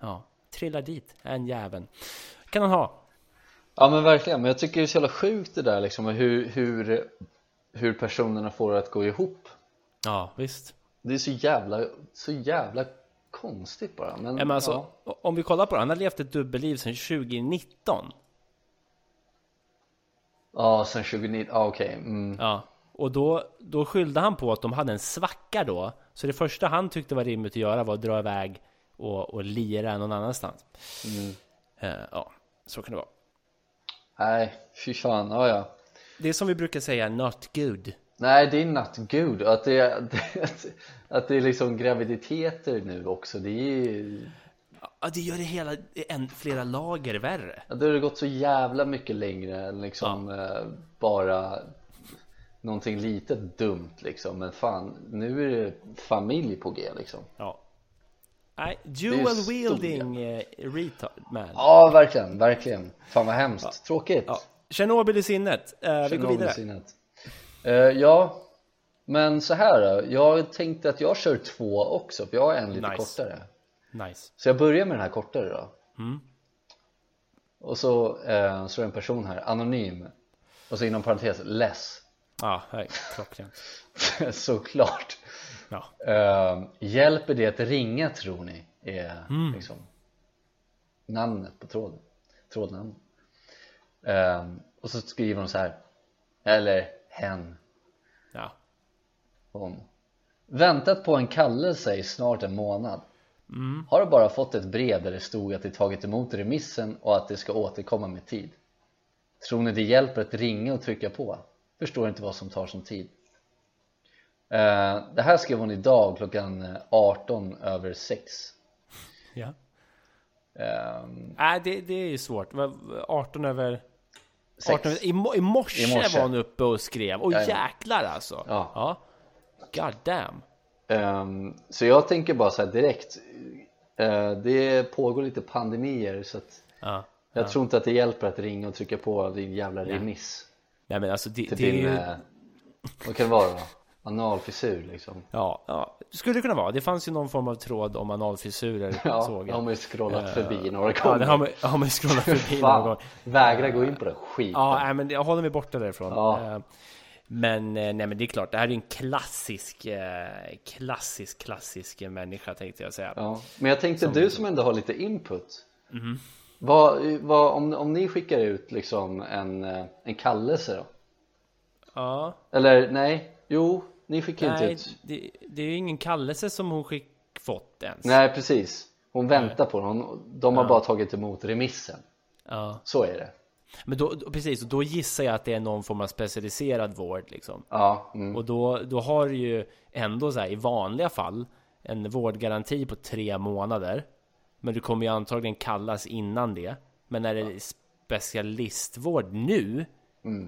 Speaker 1: Ja, trillar dit, en jäveln. Kan han ha.
Speaker 2: Ja men verkligen, men jag tycker det är så jävla sjukt det där liksom med hur, hur, hur personerna får det att gå ihop.
Speaker 1: Ja, visst.
Speaker 2: Det är så jävla, så jävla konstigt bara. Men,
Speaker 1: Ja, men alltså,
Speaker 2: ja.
Speaker 1: Om vi kollar på det, han har levt ett dubbelliv sedan 2019.
Speaker 2: ja, sen 2009, ja okej. Mm.
Speaker 1: Ja. Och då, då skyllde han på att de hade en svacka då. Så det första han tyckte var rimligt att göra var att dra iväg och, och lira någon annanstans. Eh, ja, så kan det vara.
Speaker 2: Nej, fy fan, ja ja.
Speaker 1: Det är som vi brukar säga, not good.
Speaker 2: Nej, det är not good. Att det, att, att det är liksom graviditeter nu också, det är ju...
Speaker 1: Ja, det gör det hela en, flera lager värre.
Speaker 2: Ja, då har det gått så jävla mycket längre än liksom eh, bara någonting litet dumt liksom Men fan, nu är det familj på G liksom
Speaker 1: Ja. Nej,
Speaker 2: Det
Speaker 1: dual
Speaker 2: är stor
Speaker 1: wielding eh, retard man. Ja.
Speaker 2: Ja, verkligen, verkligen Fan vad hemskt, tråkigt
Speaker 1: Tjernobyl i sinnet. Eh, vi går vidare.
Speaker 2: Någonsin att- Eh, Ja, Men så här då, jag tänkte att jag kör två också för jag har en lite
Speaker 1: Nice.
Speaker 2: kortare
Speaker 1: Nice.
Speaker 2: Så jag börjar med den här kortare då
Speaker 1: Mm.
Speaker 2: Och så, eh, så är det en person här, anonym Och så inom parentes, less
Speaker 1: Ja, det är klockrent.
Speaker 2: Såklart
Speaker 1: Ja.
Speaker 2: Eh, Hjälper det att ringa tror ni? Är liksom namnet på tråden Trådnamn Eh, Och så skriver hon så här Eller hen,
Speaker 1: ja.
Speaker 2: hon Väntat på en kallelse i snart en månad
Speaker 1: Mm.
Speaker 2: Har bara fått ett brev där det stod att de tagit emot remissen och att de ska återkomma med tid Tror ni det hjälper att ringa och trycka på? Förstår inte vad som tar sån tid Eh, Det här skrev hon idag klockan 18 över 6
Speaker 1: ja.
Speaker 2: Eh,
Speaker 1: Nej, det, det är ju svårt. Vad- 18 över...
Speaker 2: 6.
Speaker 1: 18 över i, mo- i, morse
Speaker 2: I morse.
Speaker 1: var hon uppe och skrev. Och
Speaker 2: Jajamän.
Speaker 1: jäklar alltså.
Speaker 2: Ja.
Speaker 1: ja. God damn.
Speaker 2: Ehm, Så jag tänker bara så här direkt eh, Det pågår lite pandemier så att
Speaker 1: Ja.
Speaker 2: jag tror inte att det hjälper att ringa och trycka på din jävla remiss
Speaker 1: Nej men alltså det,
Speaker 2: till
Speaker 1: det är
Speaker 2: din,
Speaker 1: ju...
Speaker 2: eh, vad kan det vara då? Analfissur liksom
Speaker 1: Ja, ja, det skulle det kunna vara. Det fanns ju någon form av tråd om analfissurer
Speaker 2: Ja,
Speaker 1: såg
Speaker 2: det har
Speaker 1: jag.
Speaker 2: man ju scrollat förbi några
Speaker 1: Eh, Ja, det har
Speaker 2: gånger
Speaker 1: man, har man ju scrollat förbi någon gång.
Speaker 2: Fan, vägra gå in på den skiten
Speaker 1: Ja, nej, men jag håller mig borta därifrån.
Speaker 2: Ja.
Speaker 1: Eh, Men, eh, nej, men det är klart, det här är ju en klassisk, eh, klassisk, klassisk människa tänkte jag säga.
Speaker 2: Ja, men jag tänkte du som ändå har lite input
Speaker 1: Mhm.
Speaker 2: vad, vad, om, om ni skickar ut liksom en, eh, en kallelse då?
Speaker 1: Ja,
Speaker 2: Eller nej, jo, ni skickar inte
Speaker 1: nej,
Speaker 2: ut
Speaker 1: det, det är ju ingen kallelse som hon skick, fått ens.
Speaker 2: Nej precis, hon väntar på den, Hon- de har bara tagit emot remissen
Speaker 1: Ja.
Speaker 2: Så är det
Speaker 1: Men då, då, precis, och då gissar jag att det är någon form av specialiserad vård liksom.
Speaker 2: Ja, mm.
Speaker 1: Och då, då har du ju ändå så här, i vanliga fall en vårdgaranti på tre månader. Men du kommer ju antagligen kallas innan det. Men är det specialistvård nu,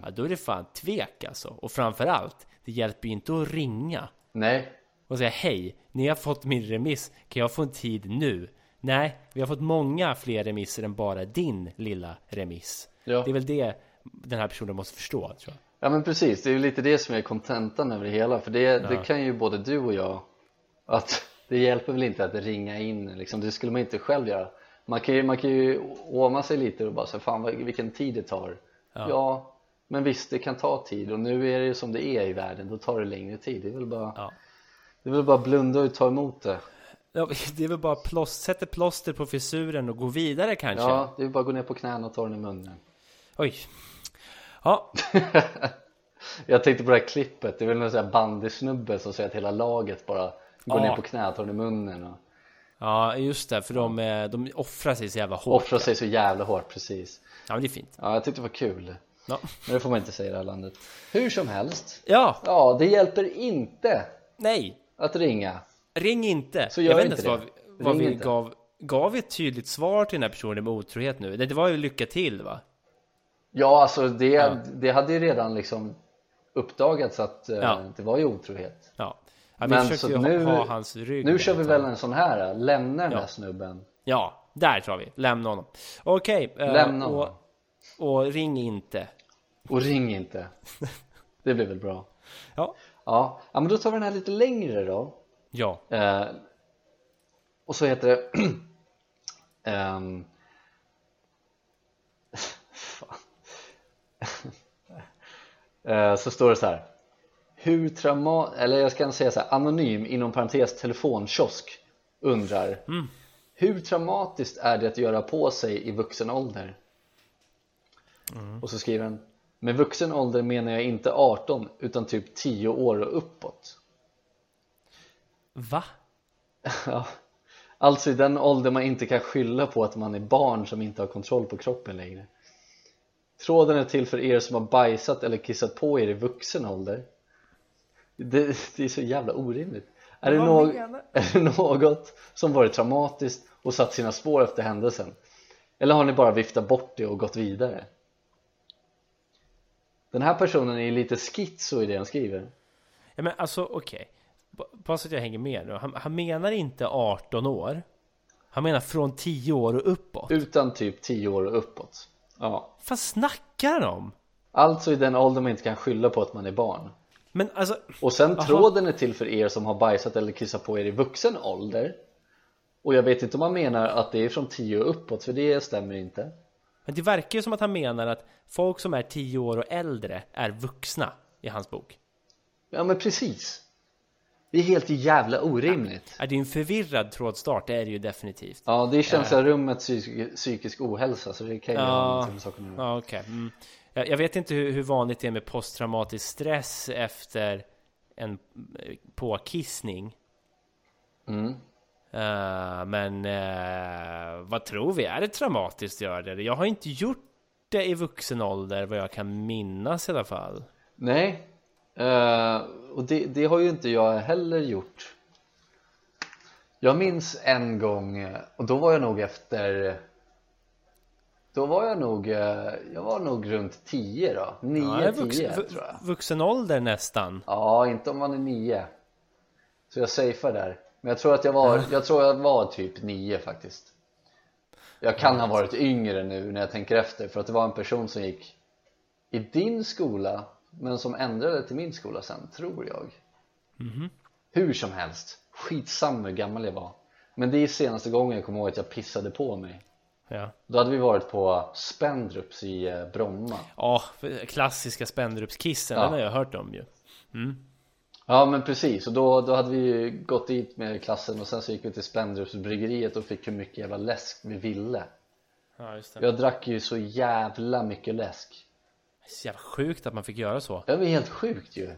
Speaker 1: ja, då är det fan tvek alltså. Och framförallt, det hjälper ju inte att ringa
Speaker 2: nej,
Speaker 1: och säga hej, ni har fått min remiss, kan jag få en tid nu? Nej, vi har fått många fler remisser än bara din lilla remiss.
Speaker 2: Ja.
Speaker 1: Det är väl det den här personen måste förstå, tror jag.
Speaker 2: ja men precis, det är ju lite det som är kontentan över det hela För det, det kan ju både du och jag Att det hjälper väl inte att ringa in liksom, det skulle man inte själv göra Man kan ju, man kan ju åma sig lite och bara säga fan vad- vilken tid det tar ja. men visst det kan ta tid och nu är det ju som det är i världen, då tar det längre tid Det är väl bara,
Speaker 1: Ja.
Speaker 2: det är väl bara blunda och ta emot det
Speaker 1: Ja, det är väl bara plåst, sätter plåster på fissuren och gå vidare kanske?
Speaker 2: Ja, det är bara att gå ner på knäna och ta den i munnen
Speaker 1: Oj. Ja,
Speaker 2: Jag tänkte på det här klippet, det är väl någon sån här bandysnubbe som säger att hela laget bara går
Speaker 1: Ja.
Speaker 2: ner på knä och tar den i munnen och
Speaker 1: ja just det, för de, eh, de offrar sig så jävla hårt.
Speaker 2: offrar sig så jävla hårt, precis
Speaker 1: Ja, men det är fint.
Speaker 2: Ja, jag tyckte det var kul
Speaker 1: Ja,
Speaker 2: Men det får man inte säga i det här landet Hur som helst
Speaker 1: ja
Speaker 2: Ja, det hjälper inte
Speaker 1: nej,
Speaker 2: att ringa
Speaker 1: ring inte.
Speaker 2: Så gör
Speaker 1: jag vet
Speaker 2: inte
Speaker 1: inte vad,
Speaker 2: det.
Speaker 1: vi- vad
Speaker 2: Ring
Speaker 1: vi
Speaker 2: inte.
Speaker 1: gav. Gav vi ett tydligt svar till den här personen med otrohet nu? Det det var ju lycka till va?
Speaker 2: Ja, alltså det, det hade ju redan liksom uppdagats att eh,
Speaker 1: Ja.
Speaker 2: det var ju otrohet
Speaker 1: Ja. ja vi
Speaker 2: Men
Speaker 1: försökte
Speaker 2: så
Speaker 1: ju
Speaker 2: nu-
Speaker 1: ha, ha hans rygg.
Speaker 2: Nu
Speaker 1: där
Speaker 2: kör vi
Speaker 1: ett
Speaker 2: väl
Speaker 1: tag.
Speaker 2: en sån här, eh, lämna den här snubben
Speaker 1: Ja, där tar vi. Lämna honom. Okej. eh,
Speaker 2: Lämna honom.
Speaker 1: och, och ring inte.
Speaker 2: och ring inte Det blir väl bra
Speaker 1: Ja.
Speaker 2: Ja, ja men då tar vi den här lite längre då
Speaker 1: Ja.
Speaker 2: Eh, och så heter det... Ehm, fan. Eh, så står det så här. Hur trauma... Eller jag ska säga så här. Anonym inom parentes telefonkiosk undrar. Hur traumatiskt är det att göra på sig i vuxen ålder? Och så skriver han. Med vuxen ålder menar jag inte 18 utan typ 10 år och uppåt.
Speaker 1: Va?
Speaker 2: Ja. Alltså i den ålder man inte kan skylla på att man är barn som inte har kontroll på kroppen längre. Tråden är till för er som har bajsat eller kissat på er i vuxen ålder. Det, det är så jävla orimligt. Är det,
Speaker 1: Vad
Speaker 2: no-
Speaker 1: menar-
Speaker 2: är det något som varit traumatiskt och satt sina spår efter händelsen? Eller har ni bara viftat bort det och gått vidare? Den här personen är lite schizo i det han skriver.
Speaker 1: Ja, men alltså okej. B- Bara så att jag hänger med nu. Han, han menar inte 18 år. Han menar från 10 år och uppåt.
Speaker 2: Utan typ 10 år och uppåt. Ja.
Speaker 1: Vad fan snackar han om?
Speaker 2: Alltså i den ålder man inte kan skylla på att man är barn
Speaker 1: Men alltså,
Speaker 2: Och sen tråden är till för er som har bajsat eller kissat på er i vuxen ålder Och jag vet inte om han menar att det är från 10 och uppåt för det stämmer inte
Speaker 1: men det verkar ju som att han menar att folk som är 10 år och äldre är vuxna i hans bok.
Speaker 2: Ja men precis Det är helt jävla orimligt
Speaker 1: Är det är en förvirrad trådstart, det är det ju definitivt.
Speaker 2: Ja det är känsla rummet psykisk, psykisk ohälsa så det kan ju ha någonting med saken att göra.
Speaker 1: Ja, okej. Mm. Jag jag vet inte hur, hur vanligt det är med posttraumatisk stress efter en eh, påkissning.
Speaker 2: Mm.
Speaker 1: Eh, men eh, vad tror vi? Är det traumatiskt att göra det? Jag har inte gjort det i vuxen ålder vad jag kan minnas i alla fall.
Speaker 2: Nej, eh, och det, det har ju inte jag heller gjort. Jag minns en gång, eh, och då var jag nog efter då var jag nog, eh, jag var nog runt 10 då, 9-10
Speaker 1: Ja, jag är vuxen, vu-
Speaker 2: tror jag
Speaker 1: vuxen ålder nästan.
Speaker 2: Ja, inte om man är 9 Så jag safear där Men jag tror att jag var, jag tror jag var typ 9 faktiskt Jag kan ha varit yngre nu när jag tänker efter för att det var en person som gick i din skola men som ändrade till min skola sen, tror jag Hur som helst, skitsamma hur gammal jag var Men det är senaste gången jag kommer ihåg att jag pissade på mig
Speaker 1: Ja,
Speaker 2: Då hade vi varit på Spendrups i eh, Bromma
Speaker 1: Ja, för- klassiska Spendrupskissen,
Speaker 2: Ja.
Speaker 1: den har jag hört om ju.
Speaker 2: Ja men precis, och då, då hade vi ju gått dit med klassen och sen så gick vi till Spendrupsbryggeriet och fick hur mycket jävla läsk vi ville
Speaker 1: Ja, just det.
Speaker 2: Jag drack ju så jävla mycket läsk
Speaker 1: Så jävla sjukt att man fick göra så.
Speaker 2: Det var helt sjukt ju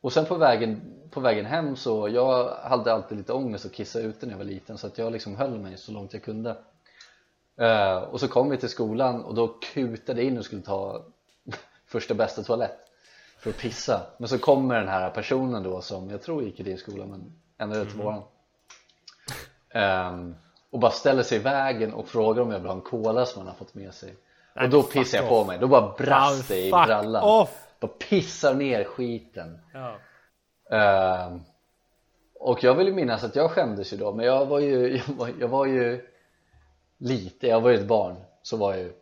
Speaker 2: Och sen på vägen, på vägen hem så, jag hade alltid lite ångest att kissa ute när jag var liten så att jag liksom höll mig så långt jag kunde Eh, Och så kom vi till skolan och då kutade jag in och skulle ta första bästa toalett för att pissa Men så kommer den här personen då som jag tror gick i din skola men ändrade
Speaker 1: Mm.
Speaker 2: till våran Ehm, Och bara ställer sig i vägen och frågar om jag vill ha en cola som han har fått med sig
Speaker 1: Nej,
Speaker 2: Och då
Speaker 1: fuck
Speaker 2: pissar jag
Speaker 1: off.
Speaker 2: på mig, då bara
Speaker 1: Ja,
Speaker 2: brast det i
Speaker 1: fuck
Speaker 2: brallan
Speaker 1: off.
Speaker 2: Bara pissar ner skiten
Speaker 1: Ja.
Speaker 2: Ehm, Och jag vill ju minnas att jag skämdes ju då Men jag var ju, jag var, jag var ju lite, jag var ju ett barn Så var jag ju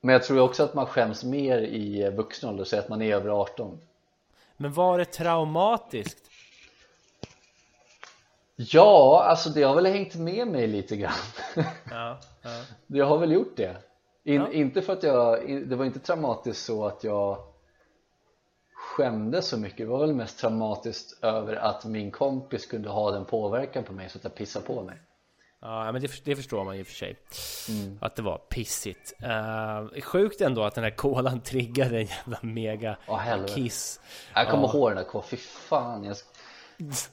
Speaker 2: Men jag tror ju också att man skäms mer i eh, vuxen ålder, säg att man är över 18
Speaker 1: Men var det traumatiskt?
Speaker 2: Ja, alltså det har väl hängt med mig lite grann
Speaker 1: Ja, ja.
Speaker 2: Jag har väl gjort det In,
Speaker 1: Ja.
Speaker 2: Inte för att jag, in, det var inte traumatiskt så att jag skämdes så mycket Det var väl mest traumatiskt över att min kompis kunde ha den påverkan på mig så att jag pissade på mig
Speaker 1: ja men det, det förstår man ju för sig.
Speaker 2: Mm.
Speaker 1: Att det var pissigt. Eh, sjukt ändå att den här kolan triggade en jävla mega
Speaker 2: Åh, helvete.
Speaker 1: kiss.
Speaker 2: Jag kommer ihåg den där kvar, fy fan jag,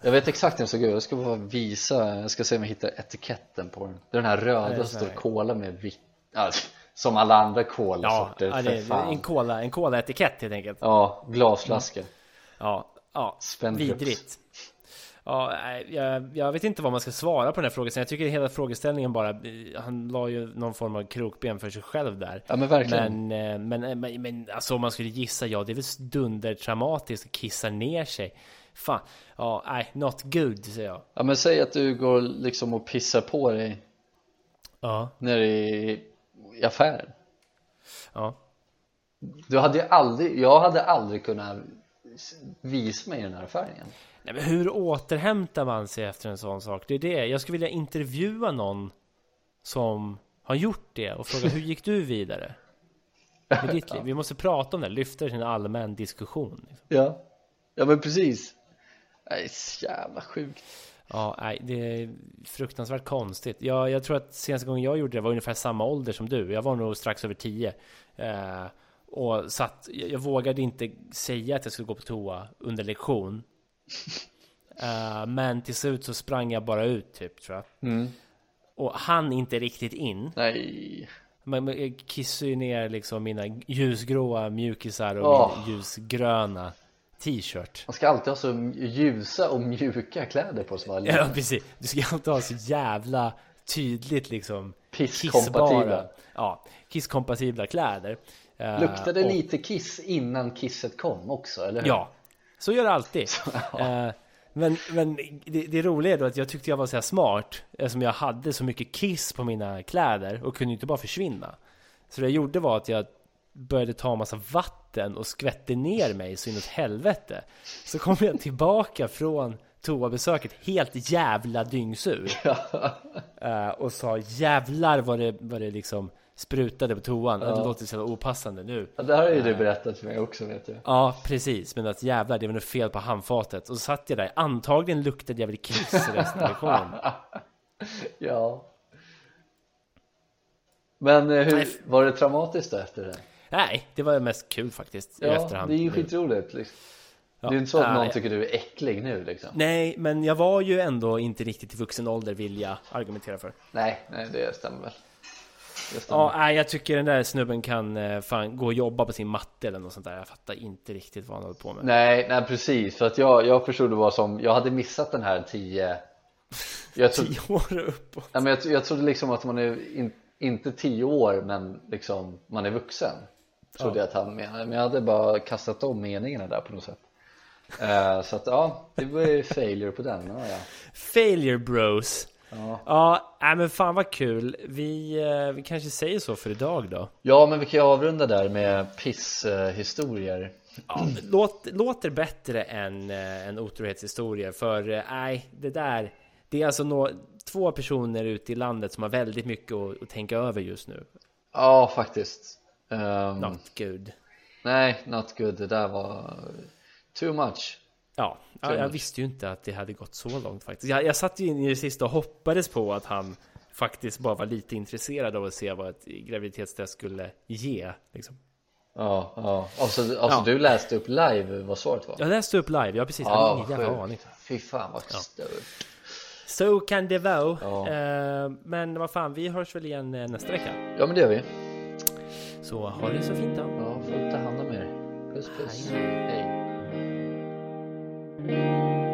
Speaker 2: jag vet exakt hur den såg ut, jag ska bara visa, jag ska se om jag hittar etiketten på den Det är Den här röda som står
Speaker 1: nej.
Speaker 2: cola med vitt, alltså, som alla andra
Speaker 1: Ja,
Speaker 2: kolasorter
Speaker 1: ja
Speaker 2: för
Speaker 1: det,
Speaker 2: fan
Speaker 1: en cola, en cola-etikett helt enkelt.
Speaker 2: Ja, glasflaskor
Speaker 1: Mm. Ja, ja.
Speaker 2: Spendrups.
Speaker 1: Vidrigt. Ja, nej, jag, jag vet inte vad man ska svara på den här frågan. Jag tycker hela frågeställningen bara, eh, han la ju någon form av krokben för sig själv där.
Speaker 2: Ja men verkligen
Speaker 1: Men, eh, men, men, men alltså om man skulle gissa, ja det är väl dundertraumatiskt att kissa ner sig. Fan, ja, nej, not good säger jag.
Speaker 2: Ja men säg att du går liksom och pissar på dig
Speaker 1: Ja,
Speaker 2: nere i, i affären
Speaker 1: ja.
Speaker 2: Du hade ju aldrig, jag hade aldrig kunnat visa mig i den här affären igen.
Speaker 1: Nej, men hur återhämtar man sig efter en sån sak? Det är det. Jag skulle vilja intervjua någon som har gjort det och fråga hur gick du vidare? Med ditt liv. Vi måste prata om det, här, lyfta det till en allmän diskussion. Liksom.
Speaker 2: Ja, ja men precis Nej, så jävla sjukt
Speaker 1: Ja, nej, det är fruktansvärt konstigt. Jag, jag tror att senaste gången jag gjorde det var ungefär samma ålder som du. Jag var nog strax över 10. Eh, och satt, jag, jag vågade inte säga att jag skulle gå på toa under lektion. Eh, men till slut så sprang jag bara ut typ tror jag. Och han inte riktigt in.
Speaker 2: Nej,
Speaker 1: Men men jag kissade ju ner liksom mina ljusgråa mjukisar och
Speaker 2: Åh.
Speaker 1: min ljusgröna t-shirt.
Speaker 2: man ska alltid ha så ljusa och mjuka kläder på sig va?
Speaker 1: Ja precis, du ska alltid ha så jävla tydligt liksom
Speaker 2: Pisskompatibla.
Speaker 1: kissbara- Ja, kisskompatibla kläder Eh,
Speaker 2: Luktar det
Speaker 1: och-
Speaker 2: lite kiss innan kisset kom också eller hur?
Speaker 1: Ja, så gör det alltid Eh, Men, men det, det roliga är då att jag tyckte jag var så här smart Eftersom jag hade så mycket kiss på mina kläder och kunde inte bara försvinna Så det jag gjorde var att jag började ta en massa vatten och skvätte ner mig så inåt helvete. Så kom jag tillbaka från toabesöket helt jävla dyngsur. Eh, och sa jävlar vad det, vad det liksom sprutade på toan. Det låter så jävla opassande nu.
Speaker 2: Ja, Det här har ju du berättat för mig också vet jag
Speaker 1: Ja, precis. Men att jävlar, det var något fel på handfatet. Och så satt jag där. Antagligen luktade jag väl kiss resten av lektionen.
Speaker 2: Ja Men eh,
Speaker 1: Nej,
Speaker 2: hur,
Speaker 1: f-
Speaker 2: var det traumatiskt då efter det?
Speaker 1: Nej, det var mest kul faktiskt i
Speaker 2: Ja,
Speaker 1: efterhand.
Speaker 2: det är ju
Speaker 1: Nu.
Speaker 2: skitroligt liksom.
Speaker 1: Ja.
Speaker 2: Det är inte så att någon
Speaker 1: Nej.
Speaker 2: tycker du är äcklig nu liksom
Speaker 1: Nej, men jag var ju ändå inte riktigt i vuxen ålder vill jag argumentera för.
Speaker 2: Nej, nej det stämmer väl Det stämmer
Speaker 1: Ja, nej, jag tycker den där snubben kan eh, fan gå och jobba på sin matte eller något sånt där. Jag fattar inte riktigt vad han håller på med.
Speaker 2: Nej, nej precis, för att jag, jag förstod det var som, jag hade missat den här 10 jag, tro,
Speaker 1: Tio år och uppåt.
Speaker 2: nej, men jag, jag trodde liksom att man är in, inte 10 år men liksom man är vuxen Trodde jag att han menade, men jag hade bara kastat om meningarna där på något sätt Eh, Så att ja, det var ju failure på den, ja, ja.
Speaker 1: Failure bros.
Speaker 2: Ja.
Speaker 1: Ja, nej, men fan vad kul. Vi, eh, vi kanske säger så för idag då.
Speaker 2: ja men vi kan ju avrunda där med pisshistorier
Speaker 1: Ja, låt, låter bättre än eh, en otrohetshistoria för eh, nej, det där. Det är alltså nå, två personer ute i landet som har väldigt mycket att, att tänka över just nu.
Speaker 2: Ja faktiskt Ehm,
Speaker 1: Not good.
Speaker 2: Nej, not good, det där var too much
Speaker 1: Ja, ja, jag visste ju inte att det hade gått så långt faktiskt. Jag, jag satt ju in i det sista och hoppades på att han faktiskt bara var lite intresserad av att se vad ett graviditetstest skulle ge. Liksom.
Speaker 2: Ja, ja. Alltså, alltså
Speaker 1: Ja.
Speaker 2: du läste upp live vad svaret var?
Speaker 1: Jag läste upp live, ja precis. Jag
Speaker 2: Ja,
Speaker 1: hade ingen jävla aning.
Speaker 2: Fy fan vad stört.
Speaker 1: Så kan det vara.
Speaker 2: Ja.
Speaker 1: Eh, men vad fan, vi hörs väl igen eh, nästa vecka.
Speaker 2: Ja men det gör vi.
Speaker 1: Så ha det så fint då.
Speaker 2: Ja, får ta hand om er. Puss puss. Hej.